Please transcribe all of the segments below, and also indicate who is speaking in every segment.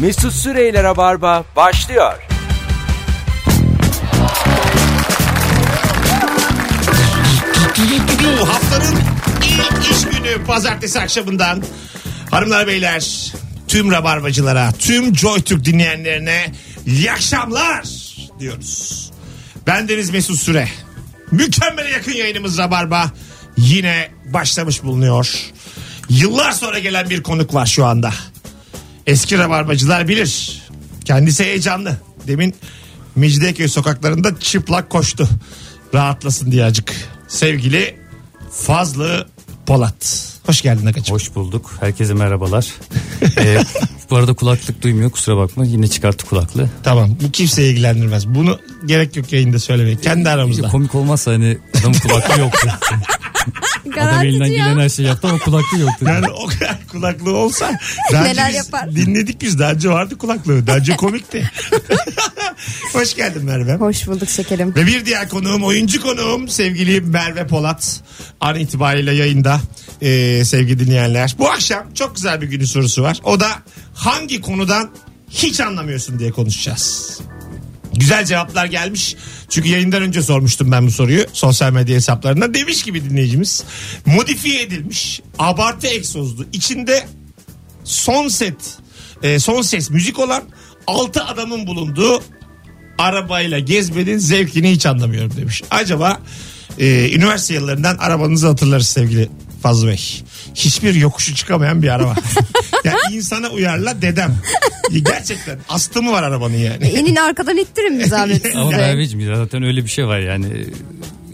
Speaker 1: Mesut Süreyler'e barba başlıyor.
Speaker 2: Bu haftanın ilk iş günü pazartesi akşamından hanımlar beyler tüm rabarbacılara tüm JoyTürk dinleyenlerine iyi akşamlar diyoruz. Ben Deniz Mesut Süre. Mükemmele yakın yayınımız Rabarba yine başlamış bulunuyor. Yıllar sonra gelen bir konuk var şu anda. Eski rabarbacılar bilir. Kendisi heyecanlı. Demin Mecidiyeköy sokaklarında çıplak koştu. Rahatlasın diye acık. Sevgili Fazlı Polat. Hoş geldin Akacığım.
Speaker 3: Hoş bulduk. Herkese merhabalar. Ee, bu arada kulaklık duymuyor kusura bakma. Yine çıkarttı kulaklığı.
Speaker 2: Tamam bu kimseyi ilgilendirmez. Bunu gerek yok yayında söylemeye. Kendi aramızda.
Speaker 3: Komik olmazsa hani adamın kulaklığı yoktu. Adam elinden
Speaker 4: Garantici
Speaker 3: gelen
Speaker 4: ya.
Speaker 3: her şeyi yaptı ama kulaklığı yoktu.
Speaker 2: Yani o kadar kulaklığı olsa daha önce
Speaker 4: Neler
Speaker 2: biz
Speaker 4: yapar?
Speaker 2: dinledik biz daha önce vardı kulaklığı daha önce komikti. Hoş geldin Merve.
Speaker 4: Hoş bulduk şekerim.
Speaker 2: Ve bir diğer konuğum oyuncu konuğum sevgili Merve Polat. An itibariyle yayında Ee, sevgili dinleyenler. Bu akşam çok güzel bir günün sorusu var. O da hangi konudan hiç anlamıyorsun diye konuşacağız. Güzel cevaplar gelmiş. Çünkü yayından önce sormuştum ben bu soruyu sosyal medya hesaplarında. Demiş gibi dinleyicimiz modifiye edilmiş abartı egzozlu içinde son set e, son ses müzik olan altı adamın bulunduğu arabayla gezmenin zevkini hiç anlamıyorum demiş. Acaba e, üniversite yıllarından arabanızı hatırlarız sevgili Fazlı Bey. Hiçbir yokuşu çıkamayan bir araba. yani insana uyarla dedem. Gerçekten astımı var arabanın yani.
Speaker 4: Enin arkadan ittirin bir zahmet
Speaker 3: Ama
Speaker 4: size.
Speaker 3: Merveciğim zaten öyle bir şey var yani. Ee,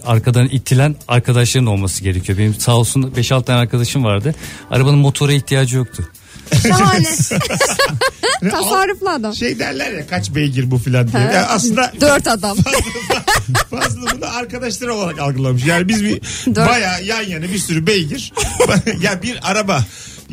Speaker 3: Arkadan itilen arkadaşların olması gerekiyor. Benim sağ olsun 5-6 tane arkadaşım vardı. Arabanın motora ihtiyacı yoktu.
Speaker 4: Şahane. Tasarruflu adam.
Speaker 2: Şey derler ya kaç beygir bu filan diye. Yani aslında
Speaker 4: Dört adam.
Speaker 2: Fazla bunu arkadaşları olarak algılamış. Yani biz bir baya yan yana bir sürü beygir. ya bir araba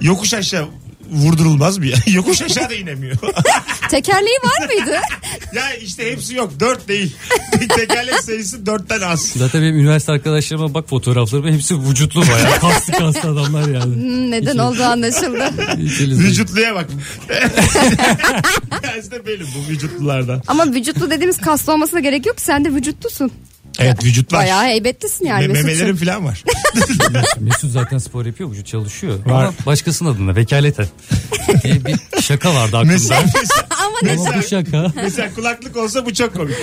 Speaker 2: yokuş aşağı vurdurulmaz mı? ya? Yokuş aşağı da inemiyor.
Speaker 4: Tekerleği var mıydı?
Speaker 2: ya işte hepsi yok. Dört değil. Tekerlek sayısı dörtten az.
Speaker 3: Zaten benim üniversite arkadaşlarıma bak fotoğraflarıma hepsi vücutlu bayağı. Kaslı kaslı adamlar yani.
Speaker 4: Hmm, Neden olduğu anlaşıldı.
Speaker 3: İkili-
Speaker 2: Vücutluya bak. işte benim bu vücutlulardan.
Speaker 4: Ama vücutlu dediğimiz kaslı olmasına gerek yok. ki, Sen de vücutlusun.
Speaker 2: Evet vücut var.
Speaker 4: Bayağı heybetlisin yani.
Speaker 2: Me-
Speaker 4: Mesut'cum.
Speaker 2: memelerim falan var.
Speaker 3: Mesut zaten spor yapıyor, vücut çalışıyor.
Speaker 2: Var.
Speaker 3: Ama başkasının adına vekaleten. diye bir şaka vardı aklımda.
Speaker 2: mesela, mesela,
Speaker 4: Ama ne
Speaker 3: Ama bu şaka.
Speaker 2: mesela kulaklık olsa bu çok komik.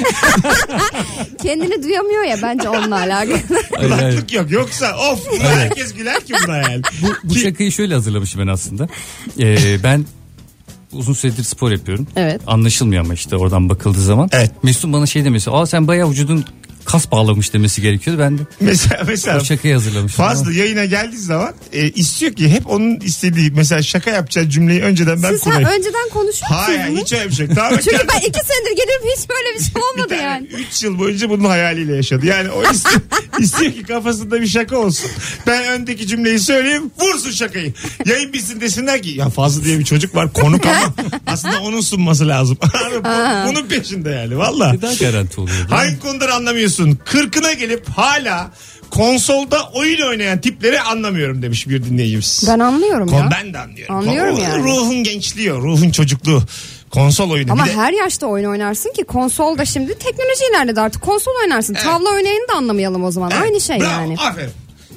Speaker 4: kendini duyamıyor ya bence onunla alakalı.
Speaker 3: Hayır, hayır.
Speaker 2: Kulaklık yok. Yoksa of buna herkes güler ki buna yani.
Speaker 3: Bu
Speaker 2: Ki-
Speaker 3: şakayı şöyle hazırlamışım ben aslında. Ee, ben uzun süredir spor yapıyorum.
Speaker 4: Evet.
Speaker 3: Anlaşılmıyor ama işte oradan bakıldığı zaman.
Speaker 2: Evet.
Speaker 3: Mesut bana şey demesi. Aa sen bayağı vücudun kas bağlamış demesi gerekiyordu. Ben de
Speaker 2: Mesela, mesela
Speaker 3: o şakayı hazırlamışım.
Speaker 2: Fazla yayına geldiği zaman e, istiyor ki hep onun istediği mesela şaka yapacağı cümleyi önceden ben
Speaker 4: Siz sen
Speaker 2: kurayım.
Speaker 4: önceden konuşuyor
Speaker 2: Hayır hayır,
Speaker 4: musunuz?
Speaker 2: hiç öyle bir şey. yok. Tamamen
Speaker 4: Çünkü
Speaker 2: kendi-
Speaker 4: ben iki senedir gelip hiç böyle bir şey olmadı yani.
Speaker 2: 3 yıl boyunca bunun hayaliyle yaşadı. Yani o istiyor, istiyor ki kafasında bir şaka olsun. Ben öndeki cümleyi söyleyeyim vursun şakayı. Yayın bitsin desinler ki ya Fazlı diye bir çocuk var konuk ama aslında onun sunması lazım. Bu- Bunun peşinde yani valla.
Speaker 3: Daha garanti oluyor.
Speaker 2: Hangi konuları anlamıyorsun? Kırkına gelip hala konsolda oyun oynayan tipleri anlamıyorum demiş bir dinleyicimiz.
Speaker 4: Ben anlıyorum
Speaker 2: Kon-
Speaker 4: ya.
Speaker 2: ben de anlıyorum.
Speaker 4: Anlıyorum
Speaker 2: Kon- o-
Speaker 4: yani.
Speaker 2: Ruhun gençliği, o, ruhun çocukluğu. Konsol oyunu.
Speaker 4: Ama
Speaker 2: E, bir de
Speaker 4: her yaşta oyun oynarsın ki konsolda şimdi teknoloji ilerledi artık konsol oynarsın. Tavla oynayanı da anlamayalım o zaman. Aynı şey
Speaker 2: Bravo,
Speaker 4: yani.
Speaker 2: Aferin.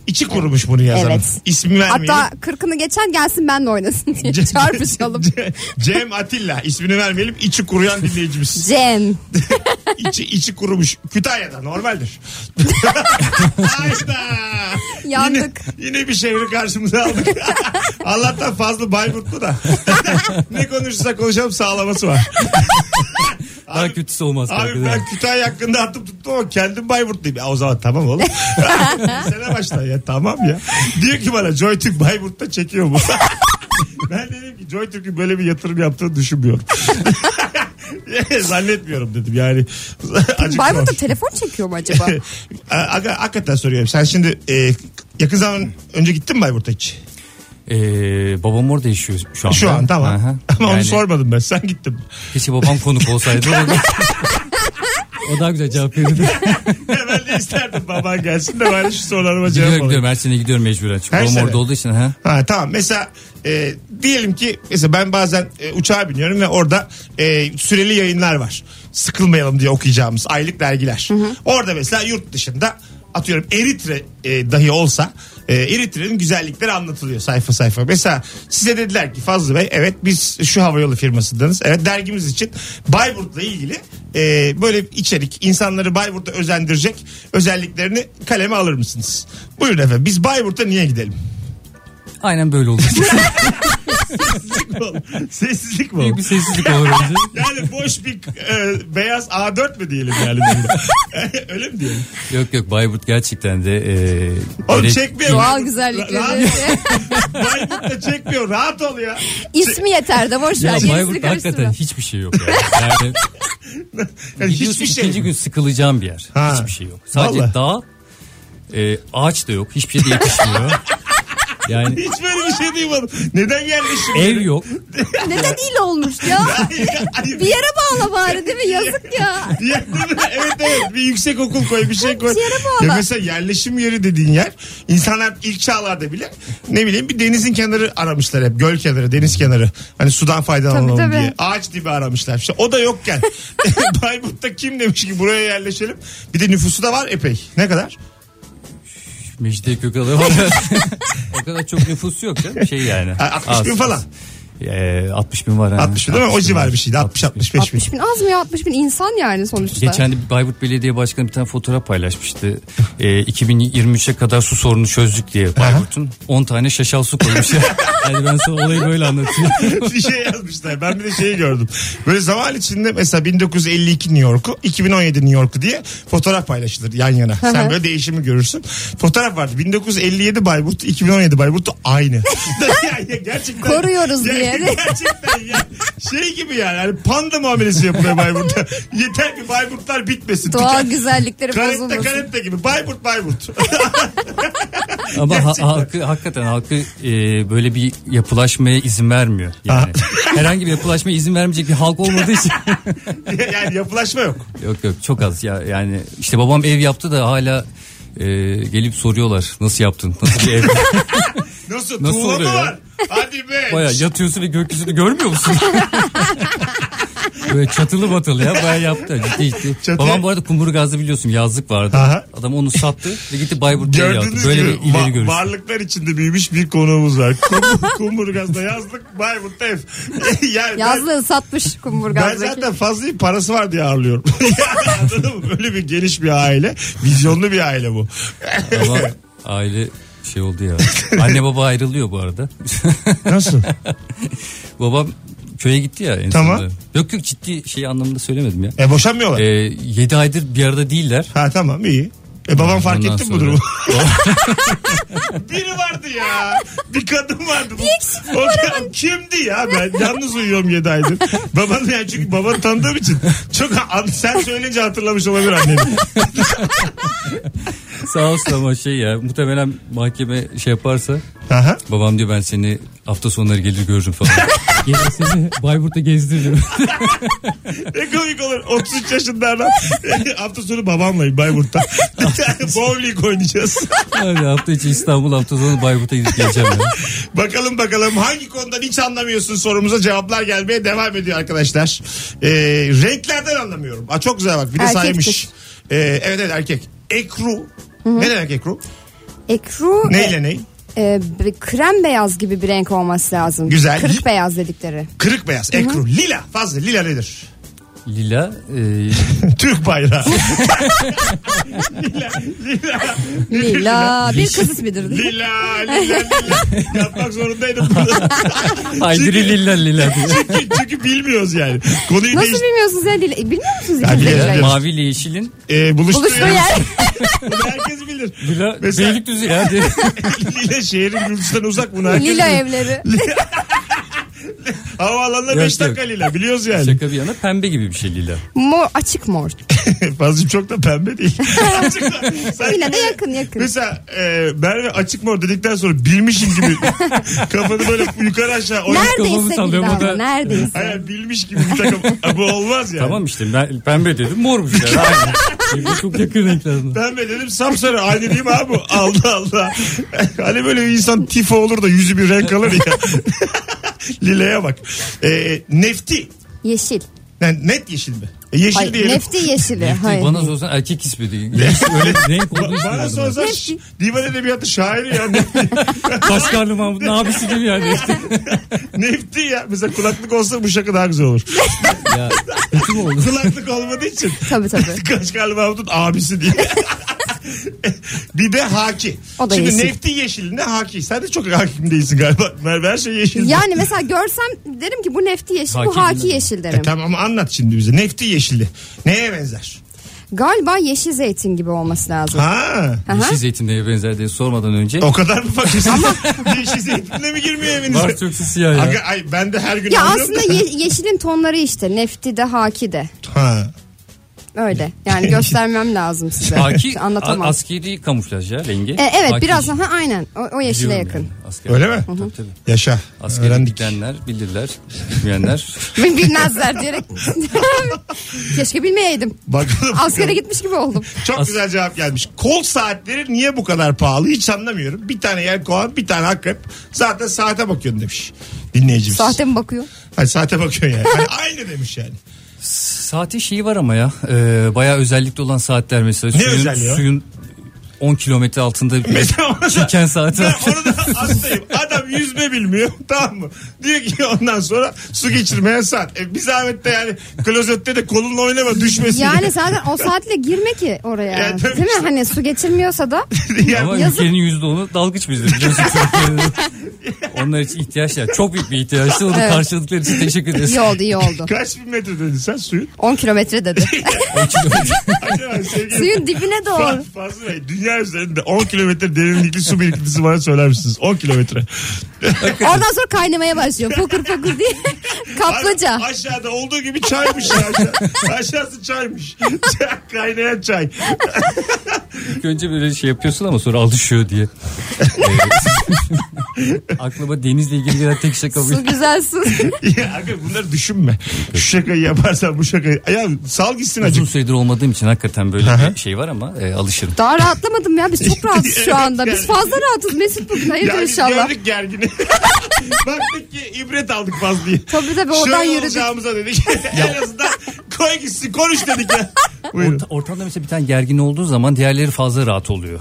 Speaker 2: İçi kurumuş bunu yazan.
Speaker 4: Evet.
Speaker 2: İsmi vermeyelim.
Speaker 4: Hatta kırkını geçen gelsin ben de oynasın diye
Speaker 2: Ce-
Speaker 4: çarpışalım.
Speaker 2: Ce- Cem Atilla ismini vermeyelim. İçi kuruyan dinleyicimiz.
Speaker 4: Cem.
Speaker 2: içi, içi kurumuş. Kütahya'da normaldir. Ayda.
Speaker 4: Yandık.
Speaker 2: Yine, yine bir şehri karşımıza aldık. Allah'tan fazla Bayburtlu da. ne konuşursa konuşalım sağlaması var.
Speaker 3: Daha kötüsü olmaz.
Speaker 2: Abi
Speaker 3: arkadaşlar.
Speaker 2: ben Kütahya hakkında attım tuttum ama kendim Bayburtluyum. Ya o zaman tamam oğlum. Sene başla ya tamam ya. Diyor ki bana Joytürk Bayburt'ta çekiyor mu? ben dedim ki Joytürk'ün böyle bir yatırım yaptığını düşünmüyorum. Zannetmiyorum dedim yani. Acık
Speaker 4: Bayburt'ta
Speaker 2: zor.
Speaker 4: telefon çekiyor mu acaba?
Speaker 2: Aga, hakikaten soruyorum. Sen şimdi e, yakın zaman önce gittin mi Bayburt'a hiç?
Speaker 3: Ee, babam orada yaşıyor şu an.
Speaker 2: Şu an tamam. Ama onu
Speaker 3: yani,
Speaker 2: sormadım ben. Sen gittin mi?
Speaker 3: Keşke babam konuk olsaydı. O daha güzel cevap verirdi.
Speaker 2: Ya ben de isterdim baban gelsin de bari şu sorularıma cevap
Speaker 3: gidiyorum
Speaker 2: alayım.
Speaker 3: gidiyorum Mersin'e gidiyorum mecburen. Çünkü
Speaker 2: Her
Speaker 3: babam
Speaker 2: sene.
Speaker 3: orada olduğu için. Ha?
Speaker 2: Ha tamam mesela e, diyelim ki mesela ben bazen e, uçağa biniyorum ve orada e, süreli yayınlar var. Sıkılmayalım diye okuyacağımız aylık dergiler. Orada mesela yurt dışında atıyorum Eritre e, dahi olsa e, Eritre'nin güzellikleri anlatılıyor sayfa sayfa. Mesela size dediler ki Fazlı Bey evet biz şu havayolu firmasındanız. Evet dergimiz için Bayburt'la ilgili e, böyle içerik insanları Bayburt'a özendirecek özelliklerini kaleme alır mısınız? Buyurun efendim biz Bayburt'a niye gidelim?
Speaker 3: Aynen böyle olur.
Speaker 2: Sessizlik mi?
Speaker 3: Büyük
Speaker 2: o?
Speaker 3: bir sessizlik olur önce.
Speaker 2: Yani boş bir e, beyaz A4 mü diyelim yani burada? E, Öyle mi diyelim?
Speaker 3: Yok yok Bayburt gerçekten de. E,
Speaker 2: Oğlum
Speaker 3: gerek-
Speaker 2: çekmiyor.
Speaker 4: Doğal
Speaker 2: Rahat,
Speaker 4: güzellikleri.
Speaker 2: Bayburt da çekmiyor. Rahat ol ya.
Speaker 4: İsmi yeter de boş ver.
Speaker 3: Ya
Speaker 4: Yenisini
Speaker 3: Bayburt hakikaten
Speaker 4: karıştırma.
Speaker 3: hiçbir şey yok. Yani, yani
Speaker 2: Yani
Speaker 3: gidiyorsun
Speaker 2: hiçbir şey.
Speaker 3: ikinci gün sıkılacağım bir yer.
Speaker 2: Ha.
Speaker 3: Hiçbir şey yok. Sadece
Speaker 2: Vallahi.
Speaker 3: dağ, e, ağaç da yok. Hiçbir şey de yetişmiyor. yani
Speaker 2: Hiç böyle bir şey duymadım. Neden gelmişim?
Speaker 3: ev yok.
Speaker 4: Neden il olmuş ya?
Speaker 2: Hayır.
Speaker 4: Bir yere bağla bari değil mi? Yazık ya.
Speaker 2: Ya, değil mi? evet evet bir yüksek okul koy bir şey koy.
Speaker 4: Bir yere bağla.
Speaker 2: Ya mesela yerleşim yeri dediğin yer insanlar ilk çağlarda bile ne bileyim bir denizin kenarı aramışlar hep göl kenarı deniz kenarı hani sudan faydalanalım
Speaker 4: Tabii, tabii.
Speaker 2: diye ağaç dibi aramışlar. İşte o da yokken Bayburt'ta kim demiş ki buraya yerleşelim bir de nüfusu da var epey ne kadar?
Speaker 3: Mecidiye Gökal'a var. o kadar çok nüfus yok canım. Şey yani.
Speaker 2: Ha, 60 bin
Speaker 3: Az,
Speaker 2: falan.
Speaker 3: az. Ee, 60 bin var. ha.
Speaker 2: 60 bin değil mi? O
Speaker 3: 60 bin
Speaker 2: civar
Speaker 3: var.
Speaker 2: bir şeydi 60-65 bin.
Speaker 4: 60 bin az mı ya? 60 bin insan yani sonuçta.
Speaker 3: Geçen de Bayburt Belediye Başkanı bir tane fotoğraf paylaşmıştı. Ee, 2023'e kadar su sorunu çözdük diye Bayburt'un 10 tane şaşal su koymuş. yani ben sana olayı böyle anlatıyorum.
Speaker 2: bir şey yazmışlar. Ben bir de şeyi gördüm. Böyle zaman içinde mesela 1952 New York'u, 2017 New York'u diye fotoğraf paylaşılır yan yana. Sen
Speaker 4: hı.
Speaker 2: böyle değişimi görürsün. Fotoğraf vardı. 1957 Bayburt, 2017 Bayburt aynı. Ya- ya gerçekten.
Speaker 4: Koruyoruz
Speaker 2: Ya-
Speaker 4: diye.
Speaker 2: Gerçekten ya. Şey gibi yani. Hani panda muamelesi yapılıyor Bayburt'ta. Yeter ki Bayburtlar bitmesin.
Speaker 4: Doğal
Speaker 2: Tüken-
Speaker 4: güzellikleri
Speaker 2: Karetta
Speaker 4: bozulmasın.
Speaker 2: karetta gibi. Bayburt Bayburt.
Speaker 3: Ama ha- halkı, hakikaten halkı e, böyle bir yapılaşmaya izin vermiyor. Yani. Herhangi bir yapılaşmaya izin vermeyecek bir halk olmadığı için.
Speaker 2: yani yapılaşma yok.
Speaker 3: Yok yok çok az ya yani işte babam ev yaptı da hala e, gelip soruyorlar nasıl yaptın nasıl bir ev
Speaker 2: Nasıl?
Speaker 3: Nasıl
Speaker 2: Tuğla mı
Speaker 3: oluyor ya?
Speaker 2: var? Hadi be.
Speaker 3: baya yatıyorsun ve gökyüzünü görmüyor musun? Böyle çatılı batılı ya baya yaptı ciddi ciddi.
Speaker 2: Çatı-
Speaker 3: Babam bu arada kumburgazda biliyorsun yazlık vardı.
Speaker 2: Aha.
Speaker 3: Adam onu sattı ve gitti Bayburt'ta ev yaptı.
Speaker 2: Gördüğünüz
Speaker 3: Şey Böyle
Speaker 2: gibi
Speaker 3: bir ileri
Speaker 2: va-
Speaker 3: görüş.
Speaker 2: varlıklar içinde büyümüş bir konuğumuz var. Kum- Kumburgaz'da yazlık Bayburt ev. yani ben,
Speaker 4: Yazlığı satmış
Speaker 2: ben
Speaker 4: Kumburgaz'daki.
Speaker 2: zaten fazla parası var diye ağırlıyorum. Yani Anladın mı? Böyle bir geniş bir aile. Vizyonlu bir aile bu.
Speaker 3: Ama aile şey oldu ya. Anne baba ayrılıyor bu arada.
Speaker 2: Nasıl?
Speaker 3: Babam köye gitti ya en
Speaker 2: Tamam.
Speaker 3: sonunda. Yok yok ciddi şey anlamında söylemedim ya.
Speaker 2: E boşanmıyorlar.
Speaker 3: E, 7 aydır bir arada değiller.
Speaker 2: Ha tamam iyi. E babam fark
Speaker 3: Ondan
Speaker 2: etti mi bu
Speaker 3: sonra-
Speaker 2: durumu? Biri vardı ya. Bir kadın vardı. Bu. O kadın kimdi ya? Ben yalnız uyuyorum 7 aydır. Baban yani çünkü babanı tanıdığım için. Çok an- sen söyleyince hatırlamış olabilir annem.
Speaker 3: Sağ olsun ama şey ya muhtemelen mahkeme şey yaparsa
Speaker 2: Aha.
Speaker 3: babam diyor ben seni hafta sonları gelir görürüm falan. Gelir seni Bayburt'ta gezdiririm.
Speaker 2: Ne E, komik olur. 33 yaşında adam. E, Hafta sonu babamla Bayburt'ta. Bowling oynayacağız.
Speaker 3: Abi hafta içi İstanbul hafta sonu Bayburt'a gidip geleceğim ya.
Speaker 2: Bakalım bakalım hangi konudan hiç anlamıyorsun sorumuza cevaplar gelmeye devam ediyor arkadaşlar. Ee, renklerden anlamıyorum. Aa, çok güzel bak bir de
Speaker 4: Erkektir.
Speaker 2: saymış. Ee, evet evet erkek. Ekru. Ne demek ekru?
Speaker 4: Ekru
Speaker 2: Neyle ney?
Speaker 4: e, e, bir krem beyaz gibi bir renk olması lazım.
Speaker 2: Güzel.
Speaker 4: Kırık beyaz dedikleri.
Speaker 2: Kırık beyaz. Ekru. Lila. Fazla lila nedir?
Speaker 3: Lila e,
Speaker 2: Türk bayrağı. lila. Lila. Nedir
Speaker 4: Lila. Bir kız ismidir.
Speaker 2: Lila. Lila. Lila. Yapmak zorundaydım.
Speaker 3: Aydiri Lila Lila diyor.
Speaker 2: çünkü, çünkü bilmiyoruz yani. Konuyu
Speaker 4: Nasıl
Speaker 2: değiş...
Speaker 4: bilmiyorsunuz ya Lila? E, Bilmiyor musunuz
Speaker 2: Ya
Speaker 4: hiç
Speaker 2: biliyorum,
Speaker 4: Lila'yı?
Speaker 2: biliyorum.
Speaker 3: Mavi ile yeşilin
Speaker 2: Ee, buluştuğu
Speaker 4: Buluştuğu
Speaker 2: yer.
Speaker 4: yer.
Speaker 2: Bunu herkes bilir.
Speaker 3: Lila
Speaker 2: Mesela-
Speaker 3: Beylikdüzü ya.
Speaker 2: Lila şehrin gürültüsünden uzak bunu herkes
Speaker 4: Lila
Speaker 2: bilir.
Speaker 4: evleri.
Speaker 2: Havaalanına
Speaker 3: Yok,
Speaker 2: 5
Speaker 3: yok.
Speaker 2: dakikayla biliyoruz yani.
Speaker 3: Şaka bir yana pembe gibi bir şey Lila.
Speaker 4: Mor açık mor.
Speaker 2: Fazlacığım çok da pembe değil. Azıcık da- Sanki
Speaker 4: Yine de
Speaker 2: böyle-
Speaker 4: yakın, yakın.
Speaker 2: Mesela e, Merve açık mor dedikten sonra bilmişim gibi kafanı böyle yukarı aşağı oynuyor.
Speaker 3: kafamı
Speaker 4: Neredeyse gibi
Speaker 3: sallıyorum, o da-
Speaker 4: ama neredeyse.
Speaker 2: Hayır bilmiş gibi bir takım. Ha, bu olmaz yani.
Speaker 3: Tamam işte ben pembe dedim mormuş yani. Aynı. Birbirine çok yakın renkler.
Speaker 2: Pembe dedim sapsarı aynı değil mi abi? Allah Allah. hani böyle insan tifo olur da yüzü bir renk alır ya. Lila'ya bak. E, nefti.
Speaker 4: Yeşil.
Speaker 2: Yani net yeşil mi? E, yeşil
Speaker 4: Hayır,
Speaker 2: diyelim.
Speaker 4: nefti yeşili. Hayır.
Speaker 3: Bana sorsan erkek ismi değil. Öyle bir renk olduğu için.
Speaker 2: Bana
Speaker 3: aradım.
Speaker 2: sorsan
Speaker 4: Nefti.
Speaker 2: divan edebiyatı şairi ya. Nefti.
Speaker 3: Başkanlı Mahmut ne abisi gibi yani.
Speaker 2: Nefti ya. Mesela kulaklık olsa bu şaka daha güzel olur.
Speaker 3: ya, kötü mü oldu?
Speaker 2: kulaklık olmadığı için.
Speaker 4: Tabii tabii.
Speaker 2: Kaşgarlı Mahmut'un abisi diye. bir de haki.
Speaker 4: O da
Speaker 2: Şimdi
Speaker 4: yeşil.
Speaker 2: nefti yeşil ne haki. Sen de çok hakim değilsin galiba. Merve her şey yeşil.
Speaker 4: Yani mesela görsem derim ki bu nefti yeşil, bu
Speaker 3: Haki
Speaker 4: haki
Speaker 3: bilmem.
Speaker 4: yeşil
Speaker 2: E
Speaker 4: derim.
Speaker 2: tamam ama anlat şimdi bize. Nefti yeşili. Neye benzer?
Speaker 4: Galiba yeşil zeytin gibi olması lazım.
Speaker 2: Ha.
Speaker 4: Aha.
Speaker 3: Yeşil zeytin neye benzer diye sormadan önce.
Speaker 2: O kadar mı fakirsin? yeşil zeytinle mi girmiyor evinize?
Speaker 3: Var Türkçe siyah ya.
Speaker 2: Aga, ay, ben de her gün
Speaker 4: Ya
Speaker 2: alıyorum
Speaker 4: aslında
Speaker 2: da.
Speaker 4: ye- yeşilin tonları işte nefti de haki de
Speaker 2: Ha.
Speaker 4: öyle yani göstermem lazım size
Speaker 3: Haki
Speaker 4: anlatamam.
Speaker 3: a- askeri kamuflaj ya rengi.
Speaker 4: E, evet
Speaker 3: Haki
Speaker 4: biraz
Speaker 3: biliyorum
Speaker 4: daha aynen o, o yeşile
Speaker 3: yani,
Speaker 4: yakın.
Speaker 3: asker.
Speaker 2: Öyle mi?
Speaker 3: Tabii tabii.
Speaker 2: Yaşa.
Speaker 3: Askeri
Speaker 2: Öğrendik.
Speaker 3: bilenler bilirler. Bilmeyenler.
Speaker 4: Bil- Bilmezler diyerek keşke bilmeyeydim.
Speaker 2: Bakalım.
Speaker 4: Askere gitmiş gibi oldum.
Speaker 2: Çok
Speaker 3: As-
Speaker 2: güzel cevap gelmiş. Kol saatleri niye bu kadar pahalı hiç anlamıyorum. Bir tane yer kovan bir tane akrep. Zaten saate bakıyorsun demiş dinleyicimiz.
Speaker 4: Sahte mi bakıyor?
Speaker 2: Hayır, saate bakıyorsun yani. Hani aynı demiş yani.
Speaker 3: Saati şeyi var ama ya. E, bayağı özellikli olan saatler mesela.
Speaker 2: Ne
Speaker 3: suyun,
Speaker 2: özelliği o?
Speaker 3: Suyun 10 kilometre altında bir
Speaker 2: Mesela ona da-
Speaker 3: çeken saati
Speaker 2: Ben
Speaker 3: var.
Speaker 2: onu da hastayım. Adam yüzme bilmiyor tamam mı? Diyor ki ondan sonra su geçirmeye saat. E, bir zahmet de yani klozette de kolunla oynama düşmesin.
Speaker 4: Yani zaten o saatle girme ki oraya.
Speaker 2: Ya tabii
Speaker 4: Değil mi?
Speaker 2: işte.
Speaker 4: Hani su geçirmiyorsa da
Speaker 2: Yani
Speaker 3: Ama
Speaker 4: Yazık.
Speaker 3: ülkenin yüzde onu dalgıç bizdir. biliyorsun. Onlar için ihtiyaçlar. Çok büyük bir ihtiyaçtı. Onu
Speaker 4: Evet.
Speaker 3: karşıladıkları için teşekkür ederiz.
Speaker 4: iyi oldu iyi oldu.
Speaker 2: Kaç bin metre dedin sen suyun?
Speaker 4: 10 kilometre dedi.
Speaker 2: Acaba sevgili-
Speaker 4: Suyun dibine
Speaker 2: Fa-
Speaker 4: doğru.
Speaker 2: Fazıl Bey dünya üzerinde 10 kilometre derinlikli su birikintisi bana söyler misiniz? 10 kilometre.
Speaker 4: Oradan sonra kaynamaya başlıyor. Fokur fokur diye. Kaplıca.
Speaker 2: Abi Aşağıda olduğu gibi çaymış ya. Aşa- Aşağısı çaymış. Çay- Kaynayan çay.
Speaker 3: İlk önce böyle şey yapıyorsun ama sonra alışıyor diye. Ee, Aklıma denizle ilgili gelen tek şey şaka bu.
Speaker 4: Su güzel su.
Speaker 2: Ya aga bunları düşünme. Şu şakayı yaparsan bu şakayı. Ya sal gitsin
Speaker 3: Uzun
Speaker 2: acık.
Speaker 3: süredir olmadığım için hakikaten böyle bir şey var ama e, alışırım.
Speaker 4: Daha rahatlamadım ya. Biz çok rahatız şu anda. Biz
Speaker 2: yani.
Speaker 4: fazla rahatız Mesut bugün. Hayırdır
Speaker 2: Ya biz
Speaker 4: inşallah.
Speaker 2: gördük gergini. Baktık ki ibret aldık Fazlı'yı.
Speaker 4: Tabii tabii oradan
Speaker 2: Şöyle
Speaker 4: yürüdük.
Speaker 2: olacağımıza dedik. en azından koy gitsin konuş dedik ya. Buyurun.
Speaker 3: Orta- ortamda mesela bir tane gergin olduğu zaman diğerleri fazla rahat oluyor.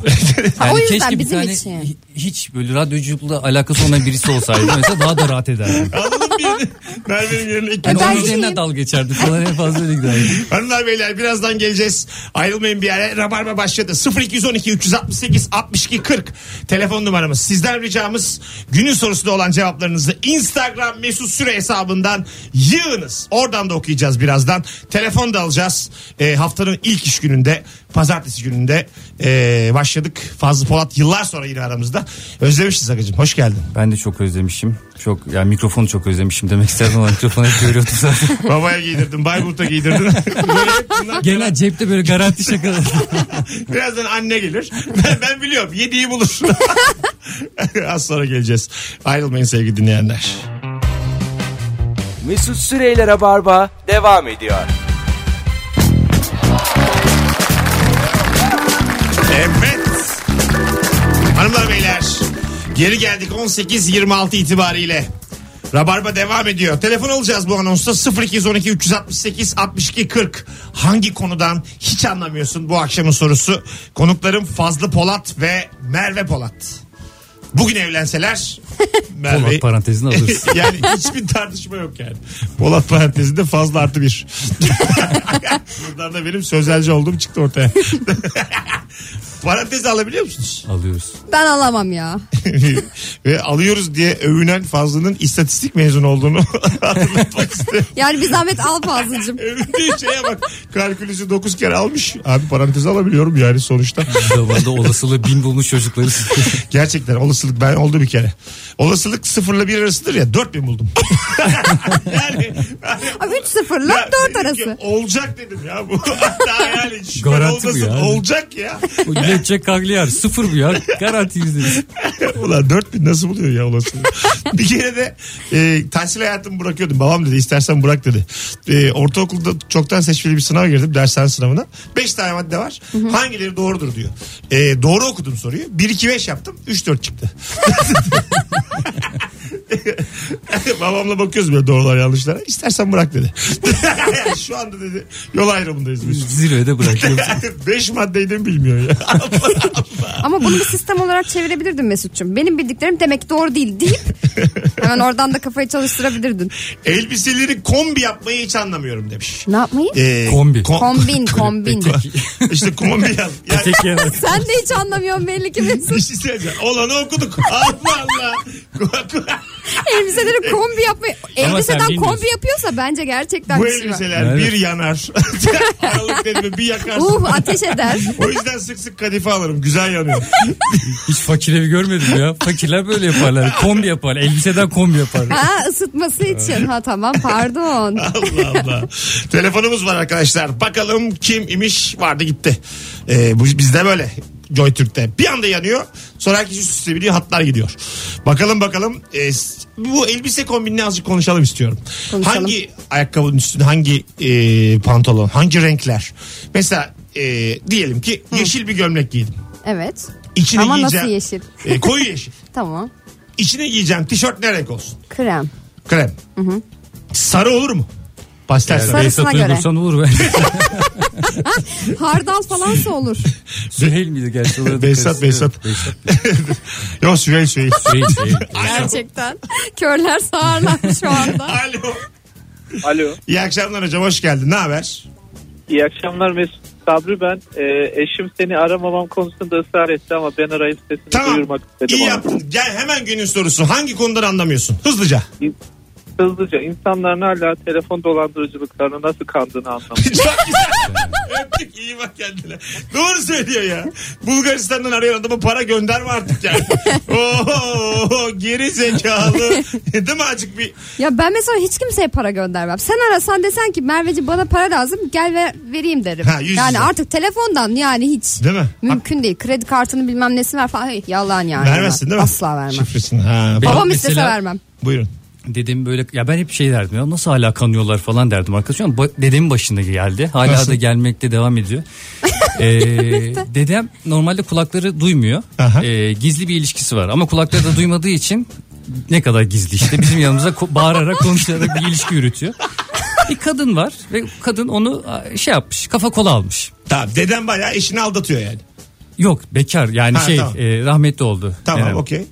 Speaker 4: Ha, o yüzden
Speaker 3: keşke bir
Speaker 4: bizim
Speaker 3: tane
Speaker 4: için.
Speaker 3: hi- hiç böyle radyoculukla alakası olmayan birisi olsaydı mesela daha da rahat ederdim.
Speaker 2: Alalım birini. Merve'nin yerine iki.
Speaker 3: Yani onun
Speaker 4: E Ben
Speaker 3: üzerinden
Speaker 4: şeyim.
Speaker 3: dalga geçerdi falan en fazla öyle giderdi.
Speaker 2: Hanımlar beyler birazdan geleceğiz. Ayrılmayın bir yere. Rabarba başladı. 0212 368 62 40 telefon numaramız. Sizden ricamız günün sorusunda olan cevaplarınızı Instagram mesut süre hesabından yığınız. Oradan da okuyacağız birazdan. Telefon da alacağız. Ee, haftanın ilk iş gününde pazartesi gününde ee, başladık. Fazlı Polat yıllar sonra yine aramızda. Özlemişiz Akıcığım. Hoş geldin.
Speaker 3: Ben de çok özlemişim. Çok yani mikrofonu çok özlemişim demek isterdim ama mikrofonu hep görüyordum zaten.
Speaker 2: Babaya giydirdin. Bayburt'a giydirdin. Böyle hep bunlar-
Speaker 3: Genel cepte böyle garanti şakalar.
Speaker 2: Birazdan anne gelir. Ben, ben biliyorum yediği bulur. Az sonra geleceğiz. Ayrılmayın sevgili dinleyenler.
Speaker 1: Mesut Süreyler'e barba devam ediyor.
Speaker 2: Evet. Hanımlar beyler. Geri geldik 18.26 itibariyle. Rabarba devam ediyor. Telefon alacağız bu anonsta 0212 368 62 40. Hangi konudan hiç anlamıyorsun bu akşamın sorusu. Konuklarım Fazlı Polat ve Merve Polat. Bugün evlenseler Merve
Speaker 3: Polat parantezini alırız.
Speaker 2: yani hiçbir tartışma yok yani. Polat parantezinde fazla artı bir. Buradan da benim sözelci olduğum çıktı ortaya. Parantez alabiliyor musunuz?
Speaker 3: Alıyoruz.
Speaker 4: Ben alamam ya.
Speaker 2: Ve alıyoruz diye övünen Fazlı'nın istatistik mezunu olduğunu hatırlatmak istiyorum.
Speaker 4: Yani bir zahmet al Fazlıcığım.
Speaker 2: Övündüğü şeye bak. Kalkülüsü 9 kere almış. Abi parantez alabiliyorum yani sonuçta.
Speaker 3: Bu zamanda olasılığı bin bulmuş çocukları.
Speaker 2: Gerçekten olasılık ben oldu bir kere. Olasılık sıfırla bir arasıdır ya 4000 buldum. yani, yani
Speaker 4: 3 sıfırla 4
Speaker 2: dedim ki,
Speaker 4: arası.
Speaker 2: Olacak dedim ya bu. Hatta yani şüphen
Speaker 3: Garanti bu
Speaker 2: olmasın
Speaker 3: yani.
Speaker 2: olacak ya.
Speaker 3: Bu Lecce Kagliar sıfır bu ya. Garanti yüzde yüz.
Speaker 2: Ulan 4000 nasıl buluyor ya olasılığı. bir kere de e, tahsil hayatımı bırakıyordum. Babam dedi istersen bırak dedi. E, ortaokulda çoktan seçmeli bir sınav girdim. Dershane sınavına. 5 tane madde var. Hangileri doğrudur diyor. E, doğru okudum soruyu. 1-2-5 yaptım. 3-4 çıktı. Babamla bakıyoruz böyle doğrular yanlışlara. İstersen bırak dedi. Şu anda dedi yol ayrımındayız biz.
Speaker 3: Zirvede bırakıyorum.
Speaker 2: 5 maddeyi de mi bilmiyor ya?
Speaker 4: Ama bunu bir sistem olarak çevirebilirdin Mesut'cum. Benim bildiklerim demek doğru değil deyip hemen oradan da kafayı çalıştırabilirdin.
Speaker 2: Elbiseleri kombi yapmayı hiç anlamıyorum demiş.
Speaker 4: Ne yapmayı?
Speaker 2: Ee,
Speaker 3: Kombi.
Speaker 2: kom-
Speaker 4: Kombin kombin.
Speaker 2: işte kombi yaz. Yani
Speaker 3: Tek yer.
Speaker 4: Sen de hiç anlamıyorsun belli ki Mesut.
Speaker 2: bir şey söyleyeceğim. Olanı okuduk. Allah Allah. Ko- ko-
Speaker 4: Elbiseleri kombi yapmayı.
Speaker 3: sen
Speaker 4: Elbiseden kombi
Speaker 3: bilmiyorsun.
Speaker 4: yapıyorsa bence gerçekten
Speaker 2: Bu
Speaker 4: bir şey var.
Speaker 2: elbiseler
Speaker 3: Evet.
Speaker 2: bir yanar. Aralık dedim bir yakarsın.
Speaker 4: Uh ateş eder.
Speaker 2: O yüzden sık sık kadife alırım. Güzel yanıyor.
Speaker 3: Hiç fakir evi görmedim ya. Fakirler böyle yaparlar. Kombi yaparlar. Elbiseden kombi yaparlar.
Speaker 4: Ha ısıtması için. Ha tamam pardon.
Speaker 2: Allah Allah. Telefonumuz var arkadaşlar. Bakalım kim imiş vardı gitti. Ee, bu bizde böyle. Joy Türk'te. Bir anda yanıyor. Sonra kişi üstüne biniyor hatlar gidiyor. Bakalım bakalım. Ee, s- bu elbise kombinini azıcık konuşalım istiyorum.
Speaker 4: Konuşalım.
Speaker 2: Hangi ayakkabının üstüne hangi e, pantolon hangi renkler? Mesela e, diyelim ki yeşil bir gömlek giydim.
Speaker 4: Evet.
Speaker 2: İçine
Speaker 4: Ama nasıl
Speaker 2: giyeceğim.
Speaker 4: yeşil?
Speaker 2: E, koyu yeşil.
Speaker 4: Tamam.
Speaker 2: İçine giyeceğim tişört ne renk olsun?
Speaker 4: Krem.
Speaker 2: Krem. Sarı olur mu? Pastel sarı.
Speaker 4: Sarı- Sarısına
Speaker 3: Behzat
Speaker 4: göre.
Speaker 3: Uygursan olur ben.
Speaker 4: Hardal falansa olur.
Speaker 3: Süheyl miydi gerçi? Ona da
Speaker 2: Behzat,
Speaker 3: karıştırıyorum.
Speaker 2: Behzat. Yok Süheyl Süheyl.
Speaker 3: Süheyl, Süheyl.
Speaker 4: Gerçekten. Körler sağırlar şu anda.
Speaker 2: Alo.
Speaker 5: Alo.
Speaker 2: İyi akşamlar hocam hoş geldin. Ne haber?
Speaker 5: İyi akşamlar Mesut. Sabri ben. Ee, eşim seni aramamam konusunda ısrar etti ama ben arayıp sesini
Speaker 2: Tamam.
Speaker 5: duyurmak istedim.
Speaker 2: İyi
Speaker 5: ona.
Speaker 2: yaptın. Gel hemen günün sorusu. Hangi konudan anlamıyorsun? Hızlıca.
Speaker 5: Hızlıca insanların hala telefon dolandırıcılıklarına nasıl kandığını anlamadım.
Speaker 2: Çok güzel. Öptük iyi bak kendine. Doğru söylüyor ya. Bulgaristan'dan arayan adama para gönderme artık yani. Oo, geri zekalı. Değil mi acık bir
Speaker 4: Ya ben mesela hiç kimseye para göndermem. Sen arasan desen ki Merveci bana para lazım gel ve vereyim derim.
Speaker 2: Ha, yüz yüze.
Speaker 4: yani artık telefondan yani hiç.
Speaker 2: Değil mi?
Speaker 4: Mümkün değil. Kredi kartını bilmem nesi ver falan. Hey, yalan yani.
Speaker 2: vermezsin değil mi?
Speaker 4: Asla vermem.
Speaker 2: Şifresini. Ha,
Speaker 3: Benim
Speaker 4: Babam istese
Speaker 3: mesela-
Speaker 4: vermem.
Speaker 2: buyurun.
Speaker 3: Dedem böyle ya ben hep şey derdim ya nasıl hala kanıyorlar falan derdim arkadaşım ama ba- dedemin başında geldi. Hala
Speaker 2: Nasıl?
Speaker 3: da gelmekte devam ediyor. Ee, dedem normalde kulakları duymuyor.
Speaker 2: Aha.
Speaker 3: Ee, gizli bir ilişkisi var ama kulakları da duymadığı için ne kadar gizli işte bizim yanımıza ko- bağırarak konuşarak bir ilişki yürütüyor. Bir kadın var ve kadın onu a, şey yapmış kafa kola almış.
Speaker 2: Tamam deden bayağı eşini aldatıyor yani.
Speaker 3: Yok bekar yani
Speaker 2: Ha,
Speaker 3: şey
Speaker 2: tamam.
Speaker 3: e, rahmetli oldu.
Speaker 2: Tamam
Speaker 3: dedem.
Speaker 2: okey.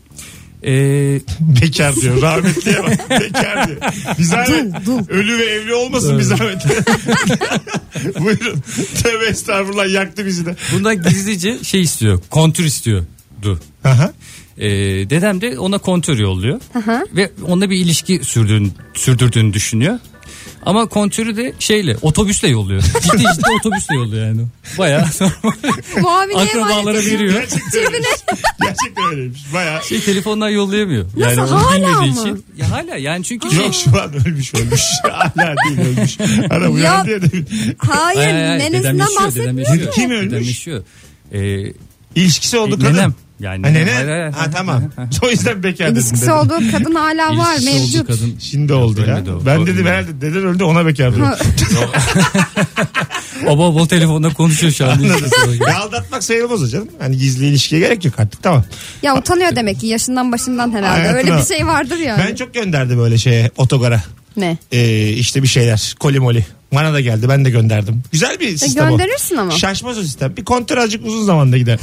Speaker 3: Ee,
Speaker 2: Bekar diyor. Rahmetliye bak. Bekar diyor. Bir zahmet.
Speaker 4: Dul, dul.
Speaker 2: Ölü ve evli olmasın bir zahmet. Buyurun. Tövbe estağfurullah yaktı bizi de.
Speaker 3: bundan gizlice şey istiyor kontür istiyordu.
Speaker 2: Aha.
Speaker 3: Ee, dedem de ona kontör yolluyor. Ve onunla bir ilişki sürdüğün, sürdürdüğünü düşünüyor. Ama kontörü de şeyle otobüsle yolluyor. Ciddi ciddi otobüsle yolluyor yani. Bayağı
Speaker 4: Muavine
Speaker 3: akrabalara
Speaker 4: emanet-
Speaker 3: veriyor.
Speaker 2: Gerçekten öyleymiş. Gerçekten öyleymiş. Baya.
Speaker 3: Şey telefondan yollayamıyor. Yani
Speaker 4: Nasıl,
Speaker 3: onu
Speaker 4: hala
Speaker 3: bilmediği
Speaker 4: mı?
Speaker 3: için. Ya hala yani çünkü şey-
Speaker 2: Yok şu an ölmüş ölmüş. Hala değil ölmüş. Hala uyandı ya demin.
Speaker 3: Ay,
Speaker 4: Hayır
Speaker 3: ay, ay,
Speaker 4: nenesinden
Speaker 3: dedem
Speaker 4: bahsetmiyor.
Speaker 3: yaşıyor.
Speaker 2: Kim
Speaker 3: Dedem
Speaker 2: ölmüş?
Speaker 3: yaşıyor. Ee,
Speaker 2: İlişkisi oldu kadın.
Speaker 3: nenem. Yani
Speaker 2: Ha, nene.
Speaker 3: Hayır, hayır,
Speaker 2: Ha
Speaker 3: hayır.
Speaker 2: tamam. o yüzden bekar dedim.
Speaker 4: İlişkisi
Speaker 2: dedim.
Speaker 4: olduğu kadın hala var
Speaker 3: İlişkisi olduğu
Speaker 4: mevcut.
Speaker 3: kadın.
Speaker 2: Şimdi oldu ya.
Speaker 3: Ölmedi o.
Speaker 2: Ben
Speaker 3: O-
Speaker 2: dedim herhalde deden öldü ona bekar dedim.
Speaker 3: O bol bol telefonda konuşuyor şu an.
Speaker 2: Ya aldatmak sayılmaz o canım. Hani gizli ilişkiye gerek yok artık tamam.
Speaker 4: Ya utanıyor demek ki yaşından başından herhalde.
Speaker 2: Hayatına-
Speaker 4: Öyle bir şey vardır yani.
Speaker 2: Ben çok gönderdi böyle şeye otogara.
Speaker 4: Ne?
Speaker 2: Ee, işte bir şeyler koli moli. Bana da geldi ben de gönderdim. Güzel bir sistem
Speaker 4: E, gönderirsin
Speaker 2: o.
Speaker 4: ama.
Speaker 2: Şaşmaz o sistem. Bir kontör azıcık uzun zamanda gider.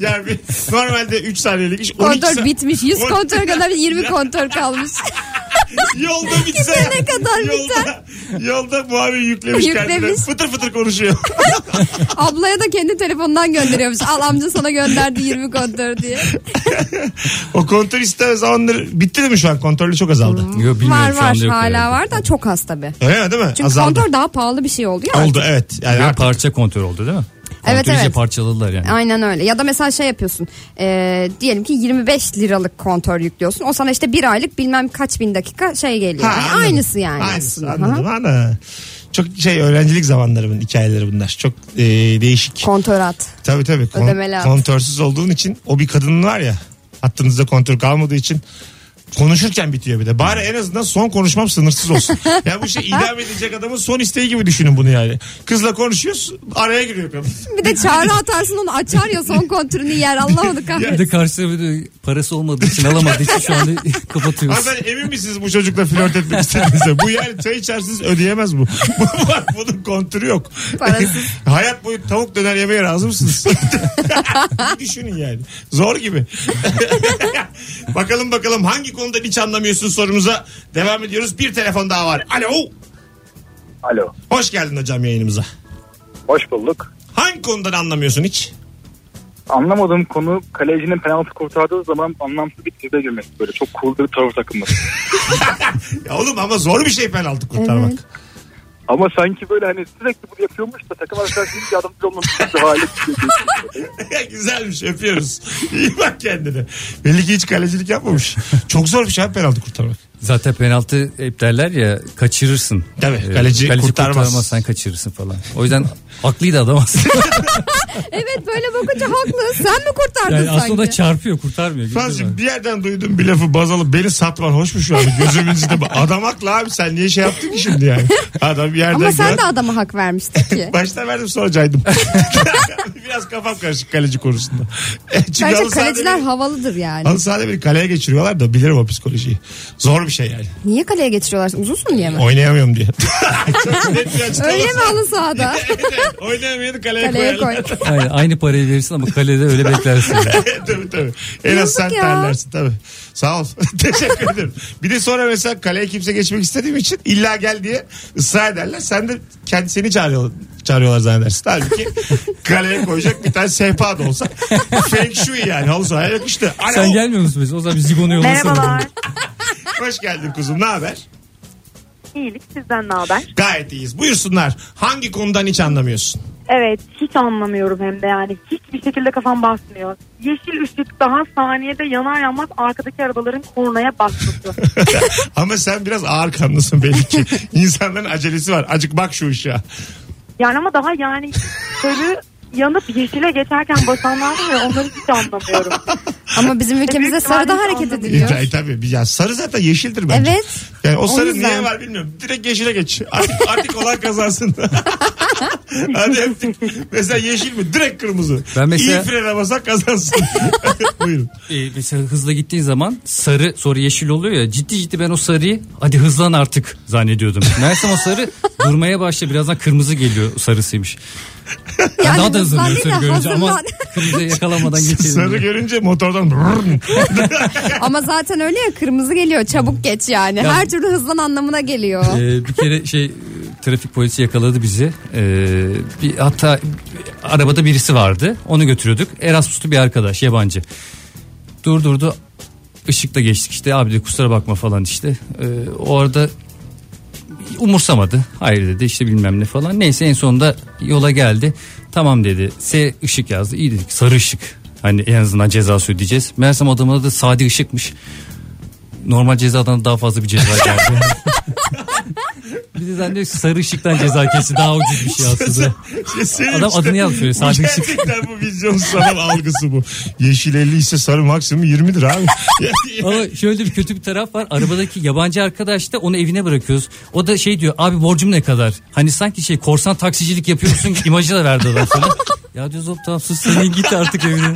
Speaker 2: yani bir, normalde 3 saniyelik iş 12
Speaker 4: Kontör
Speaker 2: sa-
Speaker 4: bitmiş. 100
Speaker 2: on-
Speaker 4: kontör kadar 20 kontör kalmış.
Speaker 2: yolda bitse.
Speaker 4: Gidene kadar
Speaker 2: Yolda, yolda muhabir yüklemiş, kendine.
Speaker 4: Yüklemiş.
Speaker 2: Fıtır fıtır konuşuyor.
Speaker 4: Ablaya da kendi telefonundan gönderiyormuş. Al amca sana gönderdi 20 kontör diye.
Speaker 2: o kontrol istemez onları. Bitti mi şu an? Kontrolü çok azaldı.
Speaker 3: Yo, bilmiyorum,
Speaker 4: var
Speaker 3: şu anda
Speaker 4: var
Speaker 3: yok
Speaker 4: hala
Speaker 3: herhalde.
Speaker 4: var da çok az tabii.
Speaker 2: Öyle mi değil mi?
Speaker 4: Çünkü
Speaker 2: azaldı.
Speaker 4: kontör daha pahalı bir şey oldu ya.
Speaker 2: Oldu evet. Yani
Speaker 3: Ve
Speaker 2: artık-
Speaker 3: parça kontör oldu değil mi?
Speaker 4: Evet,
Speaker 3: Kontör iyice
Speaker 4: evet.
Speaker 3: parçaladılar yani.
Speaker 4: Aynen öyle. Ya da mesela şey yapıyorsun. Ee, diyelim ki 25 liralık kontör yüklüyorsun. O sana işte bir aylık bilmem kaç bin dakika şey geliyor. Yani
Speaker 2: anladım.
Speaker 4: aynısı yani
Speaker 2: Aynısı
Speaker 4: aslında.
Speaker 2: anladım
Speaker 4: Aha.
Speaker 2: ana. Çok şey öğrencilik zamanlarımın hikayeleri bunlar. Çok e, değişik.
Speaker 4: Kontör at.
Speaker 2: tabii tabii. Kon-
Speaker 4: Ödemeli at.
Speaker 2: kontörsüz olduğun için o bir kadının var ya. Hattınızda kontör kalmadığı için konuşurken bitiyor bir de. Bari en azından son konuşmam sınırsız olsun. ya bu şey idam edecek adamın son isteği gibi düşünün bunu yani. Kızla konuşuyoruz araya giriyor kadın.
Speaker 4: Bir de çağrı atarsın onu açar ya son kontürünü yer. Allah onu
Speaker 3: Bir
Speaker 4: kahretsin.
Speaker 3: de karşıda bir de parası olmadığı için alamadığı için şu anda
Speaker 2: Ama
Speaker 3: kapatıyoruz.
Speaker 2: ben emin misiniz bu çocukla flört etmek istediğinizde? bu yani çay içersiniz ödeyemez bu. Bunun kontürü yok.
Speaker 4: Parasız.
Speaker 2: Hayat boyu tavuk döner yemeye razı mısınız? Bir Düşünün yani. Zor gibi. bakalım bakalım hangi konuda hiç anlamıyorsun sorumuza devam ediyoruz. Bir telefon daha var. Alo.
Speaker 6: Alo.
Speaker 2: Hoş geldin hocam yayınımıza.
Speaker 6: Hoş bulduk.
Speaker 2: Hangi konudan anlamıyorsun hiç?
Speaker 6: Anlamadığım konu kalecinin penaltı kurtardığı zaman anlamsız bir tribe girmesi. Böyle çok cool bir tavır takılması.
Speaker 2: Ya oğlum ama zor bir şey penaltı kurtarmak.
Speaker 4: Evet.
Speaker 6: Ama sanki böyle hani sürekli bunu yapıyormuş da takım arkadaşları hiç yardımcı olmamış bir hali.
Speaker 2: Güzelmiş öpüyoruz. İyi bak kendine. Belli ki hiç kalecilik yapmamış. Çok zor bir şey abi penaltı kurtarmak.
Speaker 3: Zaten penaltı hep derler ya kaçırırsın.
Speaker 2: Tabii,
Speaker 3: Ee,
Speaker 2: kaleci kurtarmaz.
Speaker 3: kurtarmazsan kaçırırsın falan. O yüzden haklıydı adam aslında.
Speaker 4: Evet böyle bakınca haklı. Sen mi kurtardın
Speaker 3: Yani
Speaker 4: sanki?
Speaker 3: aslında o da çarpıyor kurtarmıyor. gibi değil mi?
Speaker 2: Fransızcığım bir yerden duydum bir lafı baz alıp beni satman hoş mu şu an? Gözümün içinde bak. Adam haklı abi sen niye şey yaptın ki şimdi yani? Adam bir yerden
Speaker 4: Ama sen
Speaker 2: gör-
Speaker 4: de adama hak vermiştin ki.
Speaker 2: Başta verdim sonra caydım. Biraz kafam karışık kaleci konusunda. E, Çünkü halı sahada
Speaker 4: Bence kaleciler
Speaker 2: beni-
Speaker 4: havalıdır yani.
Speaker 2: Halı sahada beni kaleye geçiriyorlar da bilirim o psikolojiyi. Zor bir şey yani.
Speaker 4: Niye kaleye getiriyorlar? Uzunsun diye mi?
Speaker 2: Oynayamıyorum diye. Çok net bir açıklaması.
Speaker 4: Öyle mi halı sahada?
Speaker 2: Evet, Oynayamayanı kaleye,
Speaker 4: Kaleye koy.
Speaker 2: koyarlar.
Speaker 3: Aynen, aynı parayı verirsin ama kalede öyle beklersin.
Speaker 2: tabii tabii. En az
Speaker 4: Yazık
Speaker 2: sen
Speaker 4: ya.
Speaker 2: terlersin tabii. Sağ ol. Teşekkür ederim. Bir de sonra mesela kaleye kimse geçmek istediğim için illa gel diye ısrar ederler. Sen de kendi seni çağırıyor, çağırıyorlar zannedersin. Halbuki kaleye koyacak bir tane sehpa da olsa feng shui yani halı sahaya yakıştı. Alo,
Speaker 3: Sen gelmiyor musun mesela? O zaman bir zigonu yollasana.
Speaker 7: Merhabalar.
Speaker 2: hoş geldin kuzum ne haber?
Speaker 7: İyilik sizden ne haber?
Speaker 2: Gayet iyiyiz. Buyursunlar. Hangi konudan hiç anlamıyorsun?
Speaker 7: Evet hiç anlamıyorum hem de yani hiçbir şekilde kafam basmıyor. Yeşil ışık daha saniyede yanar yanmaz arkadaki arabaların kornaya basması.
Speaker 2: Ama sen biraz ağır kanlısın belli ki. İnsanların acelesi var. Acık bak şu ışığa.
Speaker 7: yani ama daha yani sarı yanıp yeşile geçerken basanlar var ya onları hiç anlamıyorum.
Speaker 4: Ama bizim ülkemizde
Speaker 7: Büyük
Speaker 4: sarıda
Speaker 7: ihtimalle
Speaker 4: hareket
Speaker 7: anlamıyor.
Speaker 4: ediliyor.
Speaker 2: E, tabii bir- ya sarı zaten yeşildir bence.
Speaker 4: Evet.
Speaker 2: Yani o sarı
Speaker 4: yüzden.
Speaker 2: niye var bilmiyorum. Direkt yeşile geç. Artık, artık olan kazansın. Hadi öptük. Mesela yeşil mi? Direkt kırmızı.
Speaker 3: Ben
Speaker 2: İyi
Speaker 3: mesela-
Speaker 2: frene basak kazansın. Buyurun.
Speaker 3: Ee, mesela hızla gittiğin zaman sarı sonra yeşil oluyor ya ciddi ciddi ben o sarıyı hadi hızlan artık zannediyordum. Meğersem o sarı durmaya başladı birazdan kırmızı geliyor sarısıymış. Ben
Speaker 4: Yani
Speaker 3: daha da hızlanıyorum
Speaker 4: hızlan
Speaker 3: sarı
Speaker 4: değil de
Speaker 3: görünce ama
Speaker 4: hazırlan.
Speaker 3: kırmızıyı yakalamadan geçelim.
Speaker 2: sarı görünce motordan brrrn.
Speaker 4: Ama zaten öyle ya kırmızı geliyor çabuk geç yani.
Speaker 3: Ya-
Speaker 4: Her türlü hızlan anlamına geliyor.
Speaker 3: Ee, bir kere şey e, trafik polisi yakaladı bizi. Ee, bir hatta arabada birisi vardı. Onu götürüyorduk. Erasmus'lu bir arkadaş yabancı. Durdurdu. Işıkta geçtik işte abi de kusura bakma falan işte. Ee, o arada umursamadı. Hayır dedi işte bilmem ne falan. Neyse en sonunda yola geldi. Tamam dedi. S ışık yazdı. İyi dedik sarı ışık. Hani en azından cezası ödeyeceğiz. Meğersem adamın adı Sadi Işık'mış. Normal cezadan daha fazla bir ceza geldi. Bir de zannediyor ki sarı ışıktan ceza kesi daha ucuz bir şey aslında.
Speaker 2: Senin
Speaker 3: Adam adını yazmıyor,
Speaker 2: bu
Speaker 3: sadece.
Speaker 2: Gerçekten bu vizyonsuz adam algısı bu. Yeşil 50 ise sarı maksimum 20'dir abi.
Speaker 3: Ama şöyle bir kötü bir taraf var. Arabadaki yabancı arkadaş da onu evine bırakıyoruz. O da şey diyor abi borcum ne kadar? Hani sanki şey korsan taksicilik yapıyorsun imajı da verdi adam sana. ya diyoruz "Oğlum tamam sus senin git artık evine.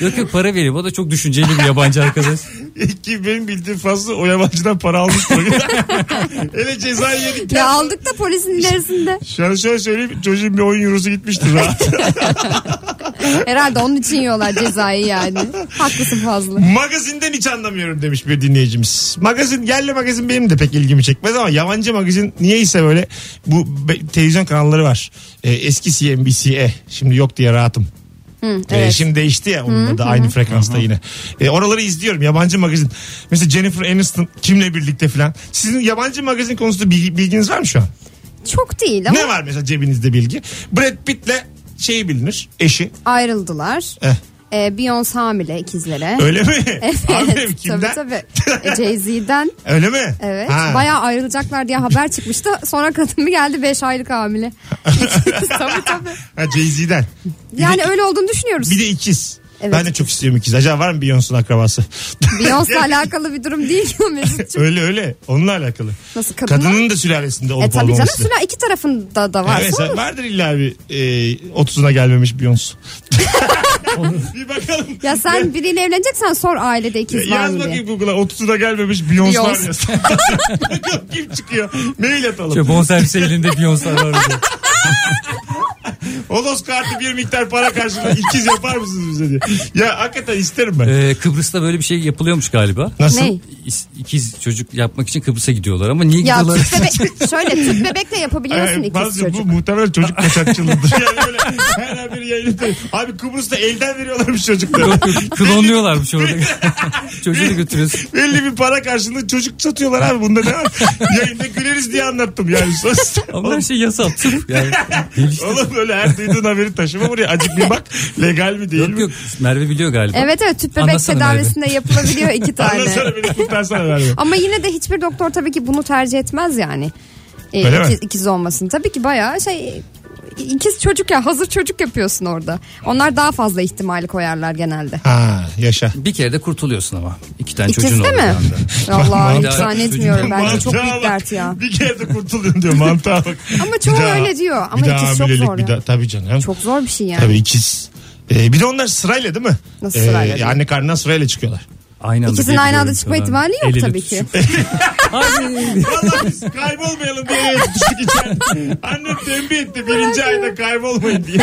Speaker 3: Yok yok para vereyim. O da çok düşünceli bir yabancı arkadaş. Şey,
Speaker 2: Ki benim bildiğim fazla o yabancıdan para almış. Hele ceza yedik.
Speaker 4: Ya aldık da polisin ilerisinde.
Speaker 2: Şöyle şöyle söyleyeyim çocuğun bir 10 eurosu gitmiştir rahat.
Speaker 4: Herhalde onun için yiyorlar cezayı yani. Haklısın fazla.
Speaker 2: Magazinden hiç anlamıyorum demiş bir dinleyicimiz. Magazin, yerli magazin benim de pek ilgimi çekmez ama yabancı magazin niyeyse böyle bu be- televizyon kanalları var. Ee, eski CNBC'e şimdi yok diye rahatım.
Speaker 4: Hı,
Speaker 2: Ee,
Speaker 4: evet.
Speaker 2: şimdi değişti ya onunla da aynı frekansta yine. Ee, oraları izliyorum yabancı magazin. Mesela Jennifer Aniston kimle birlikte falan. Sizin yabancı magazin konusunda bilgi- bilginiz var mı şu an?
Speaker 4: Çok değil ama
Speaker 2: Ne var mesela cebinizde bilgi? Brad Pitt'le şey bilinir eşi.
Speaker 4: ayrıldılar.
Speaker 2: Eh.
Speaker 4: Ee, Beyoncé hamile ikizlere.
Speaker 2: Öyle mi? Abi,
Speaker 4: Evet,
Speaker 2: kimden?
Speaker 4: tabii tabii. E, Jay-Z'den
Speaker 2: Öyle mi?
Speaker 4: evet.
Speaker 2: Ha.
Speaker 4: Bayağı ayrılacaklar diye haber çıkmıştı. Sonra kadın bir geldi 5 aylık hamile. tabii tabii.
Speaker 2: Ha, Jay-Z'den. Bir
Speaker 4: Yani
Speaker 2: de-
Speaker 4: öyle olduğunu düşünüyoruz.
Speaker 2: Bir de ikiz.
Speaker 4: Evet,
Speaker 2: ben de çok istiyorum ikiz. Acaba var mı Beyoncé'nun akrabası?
Speaker 4: Beyoncé'la alakalı bir durum değil ya Mesut'cum.
Speaker 2: öyle öyle. Onunla alakalı.
Speaker 4: Nasıl kadın var?
Speaker 2: Kadının da sülalesinde olup
Speaker 4: E tabii canım
Speaker 2: olmaması.
Speaker 4: Sula iki tarafında da varsa
Speaker 2: Evet,
Speaker 4: olur.
Speaker 2: vardır illa bir e, 30'una gelmemiş Beyoncé. bir bakalım.
Speaker 4: Ya sen biriyle evleneceksen sor ailede ikiz var
Speaker 2: Yaz
Speaker 4: mı diye.
Speaker 2: bakayım Google'a 30'una gelmemiş Beyoncé var
Speaker 4: Beyoncé.
Speaker 2: yaz. Bakalım Kim çıkıyor? Mail atalım.
Speaker 3: Şöyle bonservis elinde Beyoncé var.
Speaker 2: Olos kartı bir miktar para karşılığında ikiz yapar mısınız bize diye. Ya hakikaten isterim ben.
Speaker 3: Ee, Kıbrıs'ta böyle bir şey yapılıyormuş galiba.
Speaker 2: Nasıl?
Speaker 4: Ne?
Speaker 3: İs- İkiz çocuk yapmak için Kıbrıs'a gidiyorlar ama niye
Speaker 4: Ya
Speaker 3: gidiyorlar?
Speaker 4: tüp bebek, şöyle tüp bebekle yapabiliyorsun
Speaker 2: Ee,
Speaker 4: ikiz
Speaker 2: bazı- Bu
Speaker 4: çocuk.
Speaker 2: muhtemelen çocuk kaçakçılığıdır. Yani öyle her an bir yayınında. Abi Kıbrıs'ta elden veriyorlarmış çocukları.
Speaker 3: Klonluyorlarmış orada. Çocuğu da götürüyorsun.
Speaker 2: Belli bir para karşılığında çocuk satıyorlar abi. Bunda ne var? Yayında güleriz diye anlattım yani. Sus.
Speaker 3: Ama her şey yasal. Tıp yani. Gelişti.
Speaker 2: Oğlum böyle her duyduğun haberi taşıma buraya. Acık bir bak. Legal mi değil
Speaker 3: Yok
Speaker 2: mi?
Speaker 3: yok Merve biliyor galiba.
Speaker 4: Evet evet tüp bebek
Speaker 3: Anlatsana
Speaker 4: tedavisinde yapılabiliyor iki tane.
Speaker 2: Anlasana beni kurtarsana verme.
Speaker 4: Ama yine de hiçbir doktor tabii ki bunu tercih etmez yani. Ee,
Speaker 2: Öyle mi?
Speaker 4: ikiz, ikiz olmasın. Tabii ki bayağı şey ikiz çocuk ya hazır çocuk yapıyorsun orada. Onlar daha fazla ihtimali koyarlar genelde.
Speaker 2: Ha yaşa.
Speaker 3: Bir kere de kurtuluyorsun ama. İki tane çocuğun
Speaker 4: İkiz de
Speaker 3: oldu.
Speaker 4: mi?
Speaker 3: bir anda.
Speaker 4: Allah hiç
Speaker 3: Mantığa-
Speaker 4: zannetmiyorum bence çok
Speaker 2: Mantığa
Speaker 4: büyük
Speaker 2: bak.
Speaker 4: dert ya.
Speaker 2: Bir kere de kurtuluyorsun diyor mantığa bak.
Speaker 4: Ama çoğu
Speaker 2: Bir daha-
Speaker 4: öyle diyor. Ama
Speaker 2: bir daha
Speaker 4: ikiz çok
Speaker 2: hamilelik,
Speaker 4: zor
Speaker 2: Bir
Speaker 4: ya.
Speaker 2: daha, tabii canım.
Speaker 4: Çok zor bir şey yani.
Speaker 2: Tabii ikiz. Ee, bir de onlar sırayla değil mi?
Speaker 4: Nasıl sırayla?
Speaker 2: Ee, anne karnından sırayla çıkıyorlar.
Speaker 3: Aynı anda
Speaker 4: İkizin aynı anda
Speaker 3: birbirlerine
Speaker 4: çıkma
Speaker 3: falan
Speaker 4: ihtimali yok
Speaker 3: el ele
Speaker 4: tabii ki.
Speaker 3: Ay.
Speaker 2: Vallahi biz kaybolmayalım diye eve tutuştuk içeride. Annem tembih etti birinci ayda kaybolmayın diye.